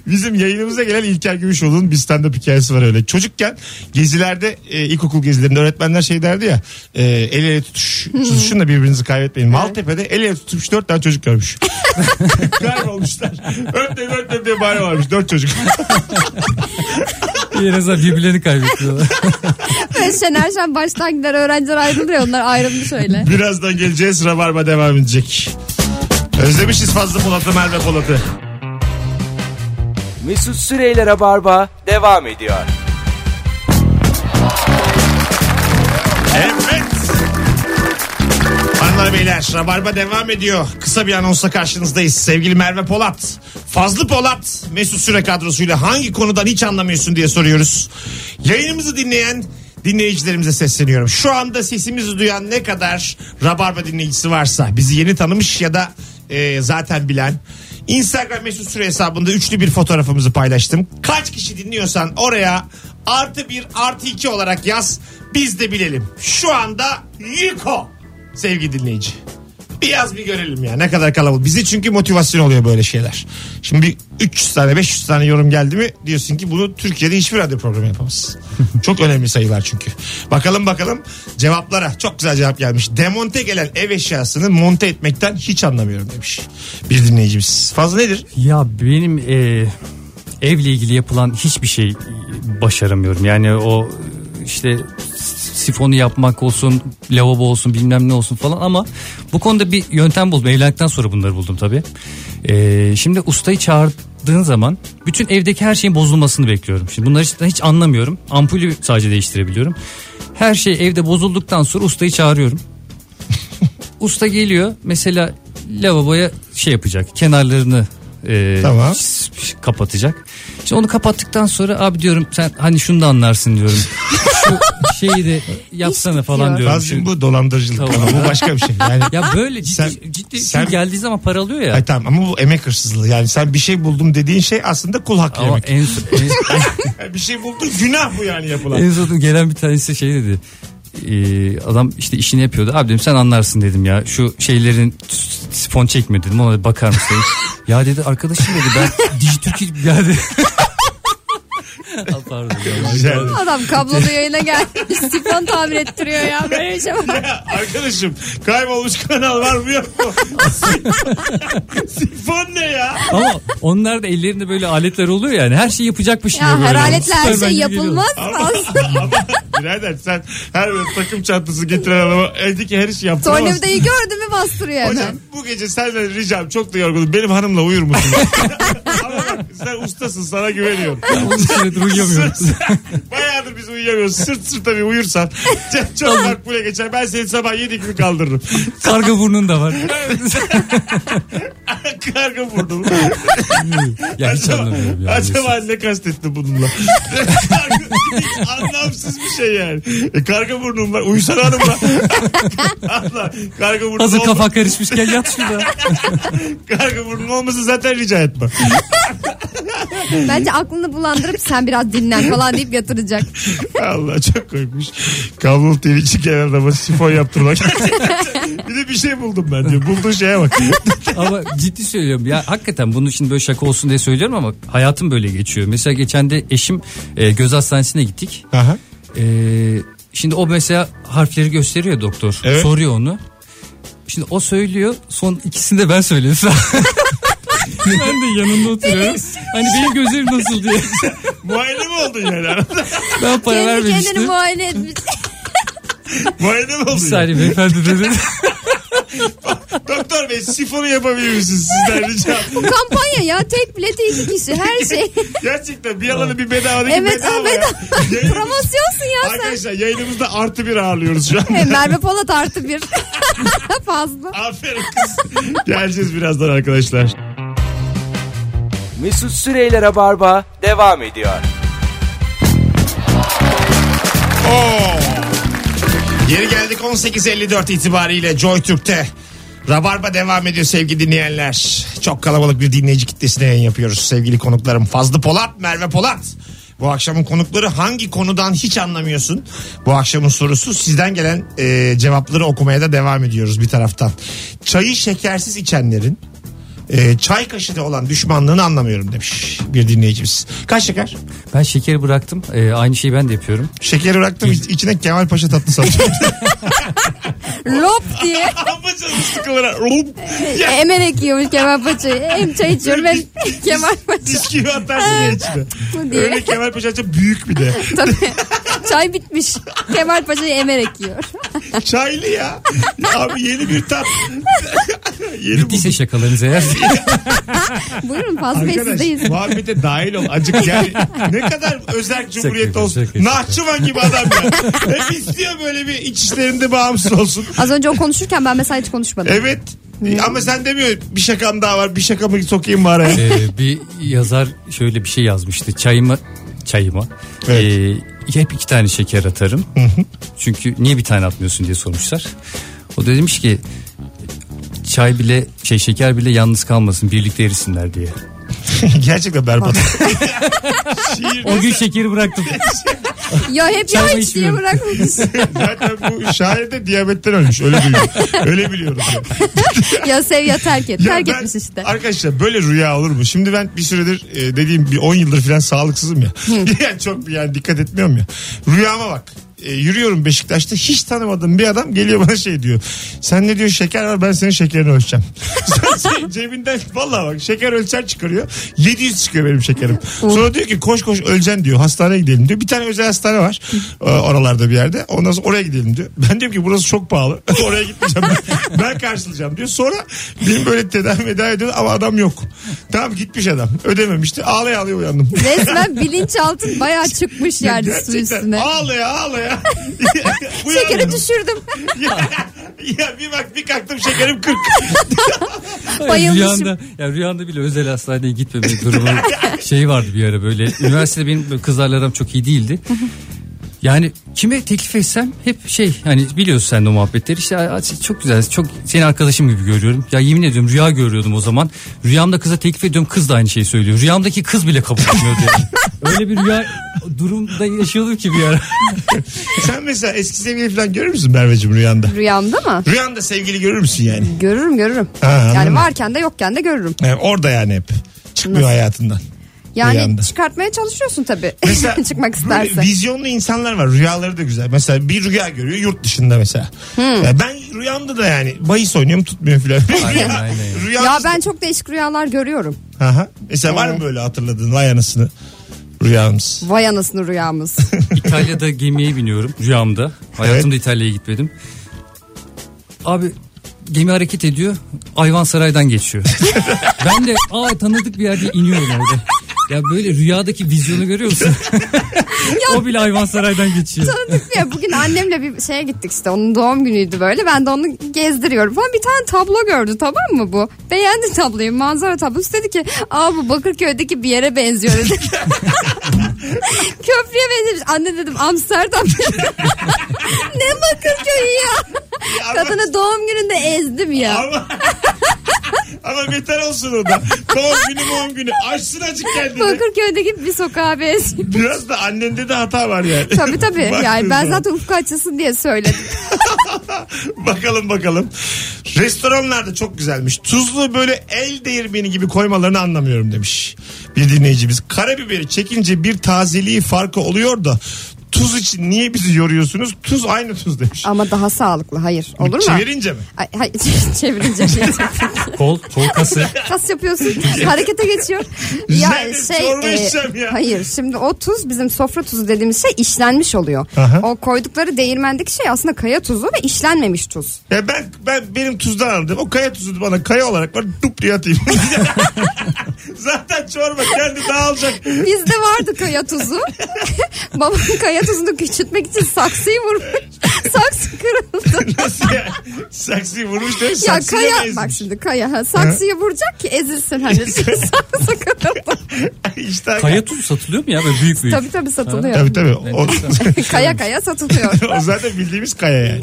Speaker 2: Bizim yayınımıza gelen İlker Gümüşoğlu'nun bir stand-up hikayesi var öyle. Çocukken gezilerde e, ilkokul gezilerinde öğretmenler şey derdi ya e, el ele tutuş, tutuşun da birbirinizi kaybetmeyin. Maltepe'de el ele tutmuş dört tane çocuk görmüş. Kaybolmuşlar. Örtme örtme diye bari varmış dört çocuk.
Speaker 3: En azından birbirlerini kaybettiler.
Speaker 4: Ve Şener Şen baştan gider öğrenciler ayrılır ya onlar ayrılmış öyle.
Speaker 2: Birazdan geleceğiz. Rabarba devam edecek. Özlemişiz fazla Polat'ı Merve Polat'ı.
Speaker 1: Mesut Süreyler'e barba devam ediyor.
Speaker 2: Evet. Hanımlar beyler Rabarba devam ediyor. Kısa bir anonsla karşınızdayız. Sevgili Merve Polat. Fazlı Polat Mesut Süre kadrosuyla hangi konudan hiç anlamıyorsun diye soruyoruz. Yayınımızı dinleyen dinleyicilerimize sesleniyorum. Şu anda sesimizi duyan ne kadar Rabarba dinleyicisi varsa bizi yeni tanımış ya da e, zaten bilen Instagram mesut süre hesabında üçlü bir fotoğrafımızı paylaştım. Kaç kişi dinliyorsan oraya artı bir artı iki olarak yaz. Biz de bilelim. Şu anda Yuko sevgili dinleyici. Bir yaz bir görelim ya ne kadar kalabalık. Bizi çünkü motivasyon oluyor böyle şeyler. Şimdi bir 300 tane 500 tane yorum geldi mi diyorsun ki bunu Türkiye'de hiçbir radyo programı yapamaz. Çok önemli sayılar çünkü. Bakalım bakalım cevaplara. Çok güzel cevap gelmiş. Demonte gelen ev eşyasını monte etmekten hiç anlamıyorum demiş. Bir dinleyicimiz. Fazla nedir?
Speaker 3: Ya benim e, evle ilgili yapılan hiçbir şey başaramıyorum. Yani o işte sifonu yapmak olsun, lavabo olsun bilmem ne olsun falan ama bu konuda bir yöntem buldum. Evlendikten sonra bunları buldum tabii. E, şimdi ustayı çağırdığın zaman bütün evdeki her şeyin bozulmasını bekliyorum. Şimdi bunları hiç, hiç anlamıyorum. Ampulü sadece değiştirebiliyorum. Her şey evde bozulduktan sonra ustayı çağırıyorum. Usta geliyor mesela lavaboya şey yapacak kenarlarını e,
Speaker 2: Tamam.
Speaker 3: s- s- kapatacak. Şimdi onu kapattıktan sonra abi diyorum sen hani şunu da anlarsın diyorum. Şu şeyi de yapsana
Speaker 4: bitiyor.
Speaker 3: falan diyorum.
Speaker 2: Fazlım
Speaker 3: Şu-
Speaker 2: bu dolandırıcılık.
Speaker 3: Tamam.
Speaker 2: Tamam, Bu başka bir şey. Yani
Speaker 3: Ya böyle ciddi,
Speaker 2: Sen-
Speaker 3: ciddi
Speaker 2: sen-
Speaker 3: şimdi geldiği zaman para alıyor ya.
Speaker 2: Ay tamam ama bu emek hırsızlığı. Yani sen bir şey buldum dediğin şey aslında kul hakkı
Speaker 3: Ama
Speaker 2: yemek.
Speaker 3: en, en,
Speaker 2: bir şey buldun günah bu yani yapılan.
Speaker 3: en son gelen bir tanesi şey dedi. Ee, adam işte işini yapıyordu. Abi dedim sen anlarsın dedim ya. Şu şeylerin sifon çekme dedim. Ona da bakar mısın? ya dedi arkadaşım dedi ben Dijitürk'ü geldi. Aa, Pardon. ya.
Speaker 2: Rica ederim.
Speaker 4: Adam kablolu yayına gelmiş. Sifon tamir ettiriyor ya. Böyle bir şey var.
Speaker 2: Arkadaşım kaybolmuş kanal var mı yok mu? Sifon ne ya?
Speaker 3: Ama onlar da ellerinde böyle aletler oluyor yani. Her şeyi yapacakmış gibi
Speaker 4: Ya
Speaker 3: böyle.
Speaker 4: heraletle her
Speaker 3: Süpermen
Speaker 4: şey
Speaker 3: gibi geliyorlar.
Speaker 4: yapılmaz.
Speaker 2: Ama, ama birader sen her böyle takım çantası getiren adama evdeki her işi yaptıramazsın.
Speaker 4: Tornavidayı gördü mü bastırıyor
Speaker 2: Hocam
Speaker 4: hemen.
Speaker 2: bu gece senden ricam çok da yorgunum. Benim hanımla uyur musun? Ama bak sen ustasın sana güveniyorum.
Speaker 3: Onun süredir uyuyamıyoruz.
Speaker 2: Sırt- Bayağıdır biz uyuyamıyoruz. Sırt sırta bir uyursan çok, çok makbule geçer. Ben seni sabah yedi gibi kaldırırım.
Speaker 3: Karga burnun da var.
Speaker 2: Karga vurdum.
Speaker 3: ya hiç
Speaker 2: acaba,
Speaker 3: anlamıyorum. ya.
Speaker 2: acaba ne kastetti bununla? Karga- Anlamsız bir şey yani. E, karga burnum var. Uyusana hanımla. Allah, karga burnum
Speaker 3: Hazır
Speaker 2: olma-
Speaker 3: kafa karışmışken yat şurada.
Speaker 2: Karga burnum olmasın zaten rica etme.
Speaker 4: Bence aklını bulandırıp sen biraz dinlen falan deyip yatıracak.
Speaker 2: Allah çok koymuş. Kablolu TV için genel adama sifon yaptırmak. bir de bir şey buldum ben diyor. Bulduğun şeye bak.
Speaker 3: Ama ciddi söylüyorum ya hakikaten bunu şimdi böyle şaka olsun diye söylüyorum ama hayatım böyle geçiyor. Mesela geçen de eşim e, göz hastanesine gittik.
Speaker 2: Aha.
Speaker 3: E, şimdi o mesela harfleri gösteriyor doktor.
Speaker 2: Evet.
Speaker 3: Soruyor onu. Şimdi o söylüyor son ikisini de ben söyledim. ben de yanında oturuyorum. Hani benim gözlerim nasıl diye.
Speaker 2: Muayene mi oldun yani?
Speaker 3: Ben para
Speaker 4: Kendi kendini
Speaker 3: vermemiştim.
Speaker 4: muayene etmiş.
Speaker 2: Muayene mi oldun? yani?
Speaker 3: Bir saniye beyefendi dedi.
Speaker 2: Doktor bey sifonu yapabilir misiniz sizden rica?
Speaker 4: Kampanya ya tek bileti iki kişi her şey.
Speaker 2: Gerçekten bir alanı bir bedavadaki
Speaker 4: Evet,
Speaker 2: bedava
Speaker 4: evet.
Speaker 2: ya. Yayınımız-
Speaker 4: Promosyonsun ya sen.
Speaker 2: Arkadaşlar yayınımızda artı bir ağırlıyoruz şu
Speaker 4: Evet,
Speaker 2: anda.
Speaker 4: Merve Polat artı bir. Fazla.
Speaker 2: Aferin kız. Geleceğiz birazdan arkadaşlar.
Speaker 1: Mesut Süreyler'e barba devam ediyor.
Speaker 2: Oo. Geri geldik 18.54 itibariyle Joy Türk'te. Rabarba devam ediyor sevgili dinleyenler. Çok kalabalık bir dinleyici kitlesine yayın yapıyoruz sevgili konuklarım. Fazlı Polat, Merve Polat. Bu akşamın konukları hangi konudan hiç anlamıyorsun? Bu akşamın sorusu sizden gelen e, cevapları okumaya da devam ediyoruz bir taraftan. Çayı şekersiz içenlerin e, çay kaşığı olan düşmanlığını anlamıyorum demiş bir dinleyicimiz. Kaç şeker?
Speaker 3: Ben şekeri bıraktım. E, aynı şeyi ben de yapıyorum.
Speaker 2: Şekeri bıraktım iç- içine Kemal Paşa tatlısı atacağım.
Speaker 4: Lop diye
Speaker 2: Amacası sıkılır. Rup. Ya,
Speaker 4: emerek yiyormuş Kemal Paşa'yı. Hem çay içiyorum hem Kemal Paşa
Speaker 2: diş gibi atarsın ya içine.
Speaker 4: Bu diye.
Speaker 2: Öyle Kemal Paşa çok büyük bir de.
Speaker 4: Tabii. Çay bitmiş. Kemal Paşa'yı emerek yiyor.
Speaker 2: Çaylı ya. Ya Abi yeni bir tat. yeni bu.
Speaker 3: Bittiyse şakalarınız eğer.
Speaker 4: Buyurun Fazlı Bey sizdeyiz.
Speaker 2: Arkadaş muhabbete dahil ol azıcık yani ne kadar özerk cumhuriyet
Speaker 3: Şaka
Speaker 2: olsun.
Speaker 3: yapıyorum, şaka
Speaker 2: Nahçıvan gibi adam ya. Hep istiyor böyle bir iç işlerinde bağımsız olsun.
Speaker 4: Az önce o konuşurken ben mesela hiç konuşmadım.
Speaker 2: Evet E, ama sen demiyor bir şakam daha var bir şakamı sokayım bari.
Speaker 3: Ee, bir yazar şöyle bir şey yazmıştı. Çayıma çayıma
Speaker 2: Evet.
Speaker 3: ee, hep iki tane şeker atarım. Çünkü niye bir tane atmıyorsun diye sormuşlar. O da demiş ki çay bile şey şeker bile yalnız kalmasın birlikte erisinler diye.
Speaker 2: Gerçekten berbat. Şiir
Speaker 3: O gün şekeri bıraktım.
Speaker 4: Ya hep
Speaker 3: Çay
Speaker 4: ya
Speaker 3: mı
Speaker 4: hiç diye
Speaker 3: içmiyorum?
Speaker 4: bırakmış.
Speaker 2: Zaten bu şair de diyabetten ölmüş. Öyle biliyorum. Öyle biliyorum. ya.
Speaker 4: ya sev ya terk et.
Speaker 2: Ya
Speaker 4: terk
Speaker 2: ben-
Speaker 4: etmiş işte.
Speaker 2: Arkadaşlar böyle rüya olur mu? Şimdi ben bir süredir e, dediğim bir 10 yıldır falan sağlıksızım ya. yani çok yani dikkat etmiyorum ya. Rüyama bak. E, yürüyorum Beşiktaş'ta hiç tanımadığım bir adam geliyor bana şey diyor. Sen ne diyor şeker var ben senin şekerini ölçeceğim. Sen cebinden valla bak şeker ölçer çıkarıyor. 700 çıkıyor benim şekerim. Sonra diyor ki koş koş öleceksin diyor. Hastaneye gidelim diyor. Bir tane özel hastane var. e, oralarda bir yerde. Ondan sonra oraya gidelim diyor. Ben diyorum ki burası çok pahalı. oraya gitmeyeceğim. Ben, ben karşılayacağım diyor. Sonra benim böyle tedavi tedavi ediyor ama adam yok. Tamam gitmiş adam. Ödememişti. Ağlaya ağlaya uyandım.
Speaker 4: Resmen bilinçaltın bayağı çıkmış yani su
Speaker 2: Gerçekten
Speaker 4: üstüne.
Speaker 2: ağlaya ağlaya.
Speaker 4: Şekeri
Speaker 2: Uyandım.
Speaker 4: düşürdüm.
Speaker 2: ya, ya bir bak bir kalktım şekerim 40.
Speaker 4: Bayılmışım.
Speaker 3: Rüyanda, ya rüyanda bile özel hastaneye gitmeme durumu şey vardı bir ara böyle. Üniversitede benim böyle kızlarla aram çok iyi değildi. Yani kime teklif etsem hep şey hani biliyorsun sen de o muhabbetleri işte "Aa, çok güzel çok seni arkadaşım gibi görüyorum. Ya yemin ediyorum rüya görüyordum o zaman. Rüyamda kıza teklif ediyorum kız da aynı şeyi söylüyor. Rüyamdaki kız bile kabul etmiyordu yani. Öyle bir rüya durumda yaşıyordum ki bir ara.
Speaker 2: Sen mesela eski sevgili falan görür müsün Merveciğim rüyanda?
Speaker 4: Rüyamda mı?
Speaker 2: Rüyanda sevgili görür müsün yani?
Speaker 4: Görürüm görürüm.
Speaker 2: Ha, anladım.
Speaker 4: yani varken de yokken de görürüm.
Speaker 2: Yani orada yani hep. Çıkmıyor hayatından. Bir
Speaker 4: Yani
Speaker 2: anda.
Speaker 4: çıkartmaya çalışıyorsun tabii.
Speaker 2: Mesela
Speaker 4: Çıkmak
Speaker 2: böyle
Speaker 4: istersen.
Speaker 2: vizyonlu insanlar var. Rüyaları da güzel. Mesela bir rüya görüyor yurt dışında mesela.
Speaker 4: Hmm.
Speaker 2: Ya ben rüyamda da yani bahis oynuyorum tutmuyor filan.
Speaker 3: Aynen,
Speaker 2: Rüya-
Speaker 3: aynen.
Speaker 2: rüya-
Speaker 4: Ya ben çok değişik rüyalar görüyorum.
Speaker 2: Aha. Mesela var mı böyle hatırladığın vay anasını rüyamız?
Speaker 4: Vay anasını rüyamız.
Speaker 3: İtalya'da gemiye biniyorum rüyamda. Hayatımda İtalya'ya gitmedim. Abi gemi hareket ediyor. Ayvansaray'dan geçiyor. ben de aa tanıdık bir yerde iniyorum orada. Ya böyle rüyadaki vizyonu görüyor musun? o bile Ayvansaray'dan geçiyor.
Speaker 4: Tanıdık ya bugün annemle bir şeye gittik işte onun doğum günüydü böyle ben de onu gezdiriyorum falan bir tane tablo gördü tamam mı bu beğendi tabloyu manzara tablosu dedi ki aa bu Bakırköy'deki bir yere benziyor dedi köprüye benzemiş anne dedim Amsterdam ne Bakırköy'ü ya kadını doğum gününde ezdim ya
Speaker 2: Ama, ama beter olsun o da. Doğum günü doğum günü. Açsın acık kendini.
Speaker 4: Bakırköy'deki bir sokağa benziyor
Speaker 2: Biraz da annende de hata var yani.
Speaker 4: Tabii tabii.
Speaker 2: Baktığın
Speaker 4: Yani ben
Speaker 2: zaman.
Speaker 4: zaten ufku açılsın diye söyledim.
Speaker 2: Bakalım bakalım. Restoranlarda çok güzelmiş. Tuzlu böyle el değirmeni gibi koymalarını anlamıyorum demiş. Bir dinleyicimiz. Karabiberi çekince bir tazeliği farkı oluyor da tuz için niye bizi yoruyorsunuz? Tuz aynı tuz demiş.
Speaker 4: Ama daha sağlıklı. Hayır. Olur mu?
Speaker 2: Çevirince mi?
Speaker 4: Ay, hayır, çevirince şey.
Speaker 3: Kol, kol kası.
Speaker 4: Kas yapıyorsun. Harekete geçiyor. şey, e,
Speaker 2: Güzel bir çorba içeceğim ya.
Speaker 4: Hayır şimdi o tuz bizim sofra tuzu dediğimiz şey işlenmiş oluyor.
Speaker 2: Aha.
Speaker 4: O koydukları değirmendeki şey aslında kaya tuzu ve işlenmemiş tuz.
Speaker 2: Ya ben, ben benim tuzdan aldım. O kaya tuzu bana kaya olarak var. Dup diye atayım. Zaten çorba kendi dağılacak.
Speaker 4: Bizde vardı kaya tuzu. Babam kaya tuzunu küçültmek için saksıyı vurmuş. Saksı kırıldı.
Speaker 2: Nasıl ya? Saksıyı vurmuş değil mi?
Speaker 4: ya
Speaker 2: Saksıyla mı
Speaker 4: kaya
Speaker 2: ezmiş?
Speaker 4: bak şimdi kaya ha, saksıyı vuracak ki ezilsin hani. Saksı kırıldı.
Speaker 2: İşte-
Speaker 3: Kaya tuzu satılıyor mu ya böyle büyük büyük?
Speaker 4: Tabii tabii satılıyor.
Speaker 2: Tabii tabii. O,
Speaker 4: Kaya kaya satılıyor.
Speaker 2: o zaten bildiğimiz kaya yani.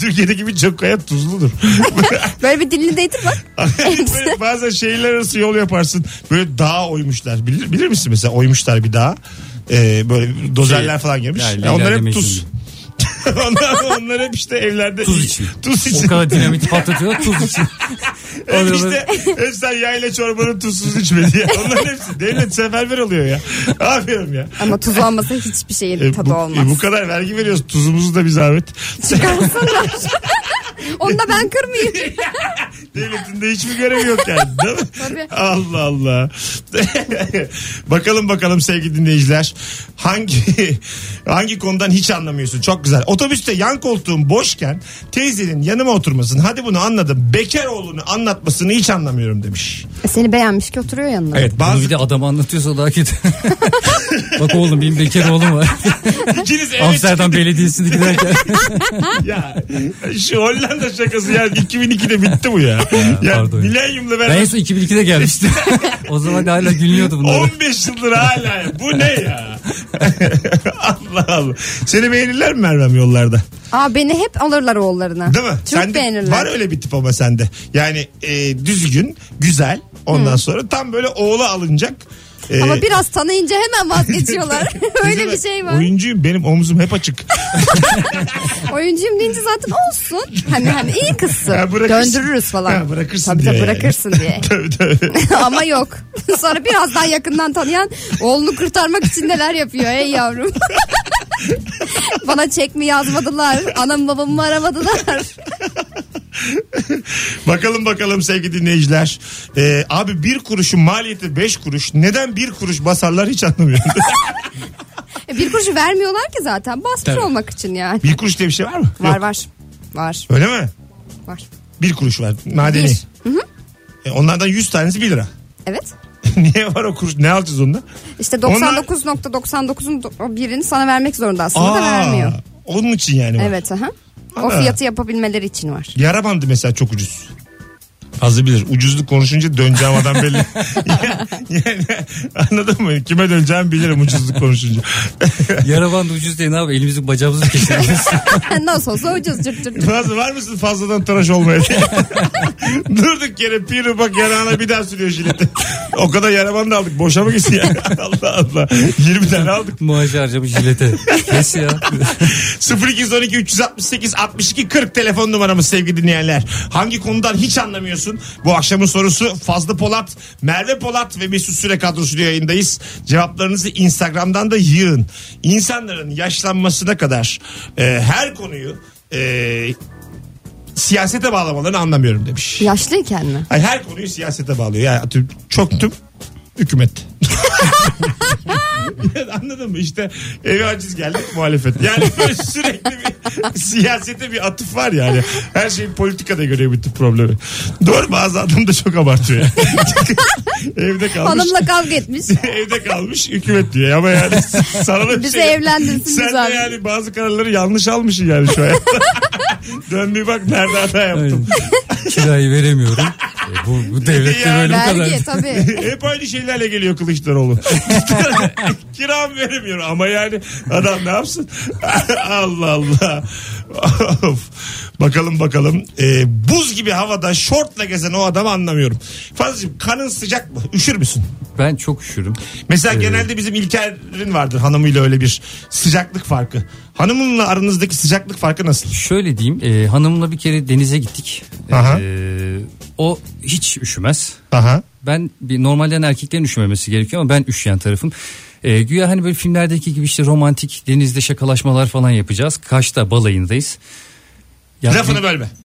Speaker 2: Türkiye'deki birçok kaya tuzludur.
Speaker 4: Böyle bir dilini değdir bak.
Speaker 2: Böyle bazen şehirler arası yol yaparsın. Böyle dağa oymuşlar. Bilir, bilir misin mesela oymuşlar bir dağa. Ee, böyle dozerler
Speaker 3: Şey,
Speaker 2: falan gelmiş.
Speaker 3: yani
Speaker 2: Ya onlar hep
Speaker 3: ilerleme
Speaker 2: tuz.
Speaker 3: için.
Speaker 2: onlar, onlar hep işte evlerde
Speaker 3: Tuz için.
Speaker 2: Tuz
Speaker 3: O
Speaker 2: için.
Speaker 3: kadar dinamit patlatıyorlar tuz için.
Speaker 2: Hep işte hep sen yayla çorbanın tuzsuz içme diye. Onların hepsi devlet seferber oluyor ya. Ne yapıyorum ya?
Speaker 4: Ama tuz olmasa hiçbir şeyin
Speaker 2: E,
Speaker 4: tadı
Speaker 2: bu,
Speaker 4: olmaz.
Speaker 2: e, bu kadar vergi veriyoruz. Tuzumuzu da bir zahmet.
Speaker 4: Çıkarsınlar. Onu da ben kırmayayım.
Speaker 2: Devletin de hiçbir görevi yok yani. Değil mi?
Speaker 4: Tabii.
Speaker 2: Allah Allah. bakalım bakalım sevgili dinleyiciler. Hangi hangi konudan hiç anlamıyorsun? Çok güzel. Otobüste yan koltuğum boşken teyzenin yanıma oturmasın. Hadi bunu anladım. Bekar oğlunu anlatmasını hiç anlamıyorum demiş.
Speaker 4: E, Seni beğenmiş ki oturuyor yanına.
Speaker 2: Evet
Speaker 3: Bunu
Speaker 2: bazı
Speaker 3: bir de adam anlatıyorsa daha kötü. Bak oğlum benim bekar oğlum var.
Speaker 2: ikiniz eve
Speaker 3: Amsterdam Belediyesi'ne giderken.
Speaker 2: Ya şu Hollanda şakası ya 2002'de bitti bu ya. ya
Speaker 3: pardon.
Speaker 2: milenyumla
Speaker 3: Ben en
Speaker 2: beraber
Speaker 3: son 2002'de gelmiştim. o zaman da hala gülüyordu bunlar.
Speaker 2: 15 yıldır hala ya. bu ne ya? Allah Allah. Seni beğenirler mi Mervem yollarda?
Speaker 4: Aa beni hep alırlar oğullarına.
Speaker 2: Değil mi?
Speaker 4: Çok
Speaker 2: Sende
Speaker 4: beğenirler.
Speaker 2: Var öyle bir tip ama sende. Yani e, düzgün, güzel ondan sonra tam böyle oğlu alınacak. E,
Speaker 4: Ama biraz tanıyınca hemen vazgeçiyorlar. öyle
Speaker 2: teyze
Speaker 4: bir
Speaker 2: ben
Speaker 4: şey var.
Speaker 2: Oyuncuyum benim omzum hep açık.
Speaker 4: Oyuncuyum deyince zaten olsun. Hani hani iyi
Speaker 2: Ha,
Speaker 4: kızsın.
Speaker 2: bırakırsın.
Speaker 4: Döndürürüz falan.
Speaker 2: Ha, bırakırsın
Speaker 4: tabii,
Speaker 2: diye
Speaker 4: tabii,
Speaker 2: yani.
Speaker 4: bırakırsın diye.
Speaker 2: tabii tabii.
Speaker 4: Ama yok. Sonra biraz daha yakından tanıyan oğlunu kurtarmak için neler yapıyor ey yavrum. Bana çek mi yazmadılar? Anam babamı aramadılar?
Speaker 2: Bakalım bakalım sevgili dinleyiciler. Ee, abi bir kuruşun maliyeti beş kuruş. Neden bir kuruş basarlar hiç anlamıyorum.
Speaker 4: E, bir kuruşu vermiyorlar ki zaten. Basmış
Speaker 3: Tabii.
Speaker 4: olmak için yani.
Speaker 2: bir kuruş diye bir şey var mı?
Speaker 4: Var
Speaker 2: Yok.
Speaker 4: var. Var
Speaker 2: Öyle mi?
Speaker 4: var.
Speaker 2: Bir kuruş var madeni.
Speaker 4: Bir.
Speaker 2: E, onlardan 100 tanesi 1 lira.
Speaker 4: Evet.
Speaker 2: Niye var o kuruş? Ne alacağız onda?
Speaker 4: İşte
Speaker 2: Onlar-
Speaker 4: 99.99'un do- birini sana vermek zorunda aslında da vermiyor.
Speaker 2: Onun için yani var.
Speaker 4: Evet aha. O
Speaker 2: Ana.
Speaker 4: fiyatı yapabilmeleri için var.
Speaker 2: Yara bandı mesela çok ucuz. Azı bilir. Ucuzluk konuşunca döneceğim adam belli. yani, anladın mı? Kime döneceğimi bilirim ucuzluk konuşunca.
Speaker 3: Yaraban da ucuz diye ne yapalım elimizi bacağımızı keşfediyoruz.
Speaker 4: Nasıl olsa ucuz cırt cırt.
Speaker 2: E, Fazla var mısın fazladan tıraş olmaya diye. Durduk yere piru bak yanağına bir daha sürüyor jileti. O kadar yaraman da aldık. Boşa mı gitsin ya? Allah Allah. 20 tane aldık.
Speaker 3: Maaşı harcamış jilete. Kes ya.
Speaker 2: 0212 368 62 40 telefon numaramız sevgili dinleyenler. Hangi konudan hiç anlamıyorsun? olsun. Bu akşamın sorusu Fazlı Polat, Merve Polat ve Mesut Süre kadrosuyla yayındayız. Cevaplarınızı Instagram'dan da yığın. İnsanların yaşlanmasına kadar e, her konuyu e, siyasete bağlamalarını anlamıyorum demiş.
Speaker 4: Yaşlıyken mi?
Speaker 2: Ay, her konuyu siyasete bağlıyor. Yani atıyorum çok tüm hükümet. Yani Anladın mı? İşte evi aciz geldi muhalefet. Yani böyle sürekli bir siyasete bir atıf var yani. Her şeyi politikada görüyor bütün problemi. Doğru bazı adam da çok abartıyor. yani. evde kalmış.
Speaker 4: Hanımla kavga etmiş.
Speaker 2: evde kalmış hükümet diyor ama yani sana da bir
Speaker 4: Bizi
Speaker 2: şey-
Speaker 4: evlendirsiniz
Speaker 2: Sen
Speaker 4: abi.
Speaker 2: de yani bazı kararları yanlış almışsın yani şu hayatta. Dön bir bak nerede hata yaptım.
Speaker 3: Kirayı veremiyorum. E, bu, bu devlette
Speaker 2: Ya,
Speaker 3: böyle bu kadar.
Speaker 4: Vergi tabii.
Speaker 2: Hep aynı şeylerle geliyor Kılıçdaroğlu. Kiram veremiyor ama yani adam ne yapsın? Allah Allah. Of. bakalım bakalım. Ee, buz gibi havada şortla gezen o adamı anlamıyorum. Fazlacığım kanın sıcak mı? Üşür müsün?
Speaker 3: Ben çok üşürüm.
Speaker 2: Mesela genelde bizim İlker'in vardır hanımıyla öyle bir sıcaklık farkı. Hanımınla aranızdaki sıcaklık farkı nasıl?
Speaker 3: Şöyle diyeyim e, hanımla bir kere denize gittik.
Speaker 2: Aha.
Speaker 3: E, o hiç üşümez.
Speaker 2: Aha.
Speaker 3: Ben bir normalden erkeklerin üşümemesi gerekiyor ama ben üşüyen tarafım. E, güya hani böyle filmlerdeki gibi işte romantik denizde şakalaşmalar falan yapacağız. Kaş'ta balayındayız. Ya
Speaker 2: Lafını
Speaker 3: bir-
Speaker 2: bölme.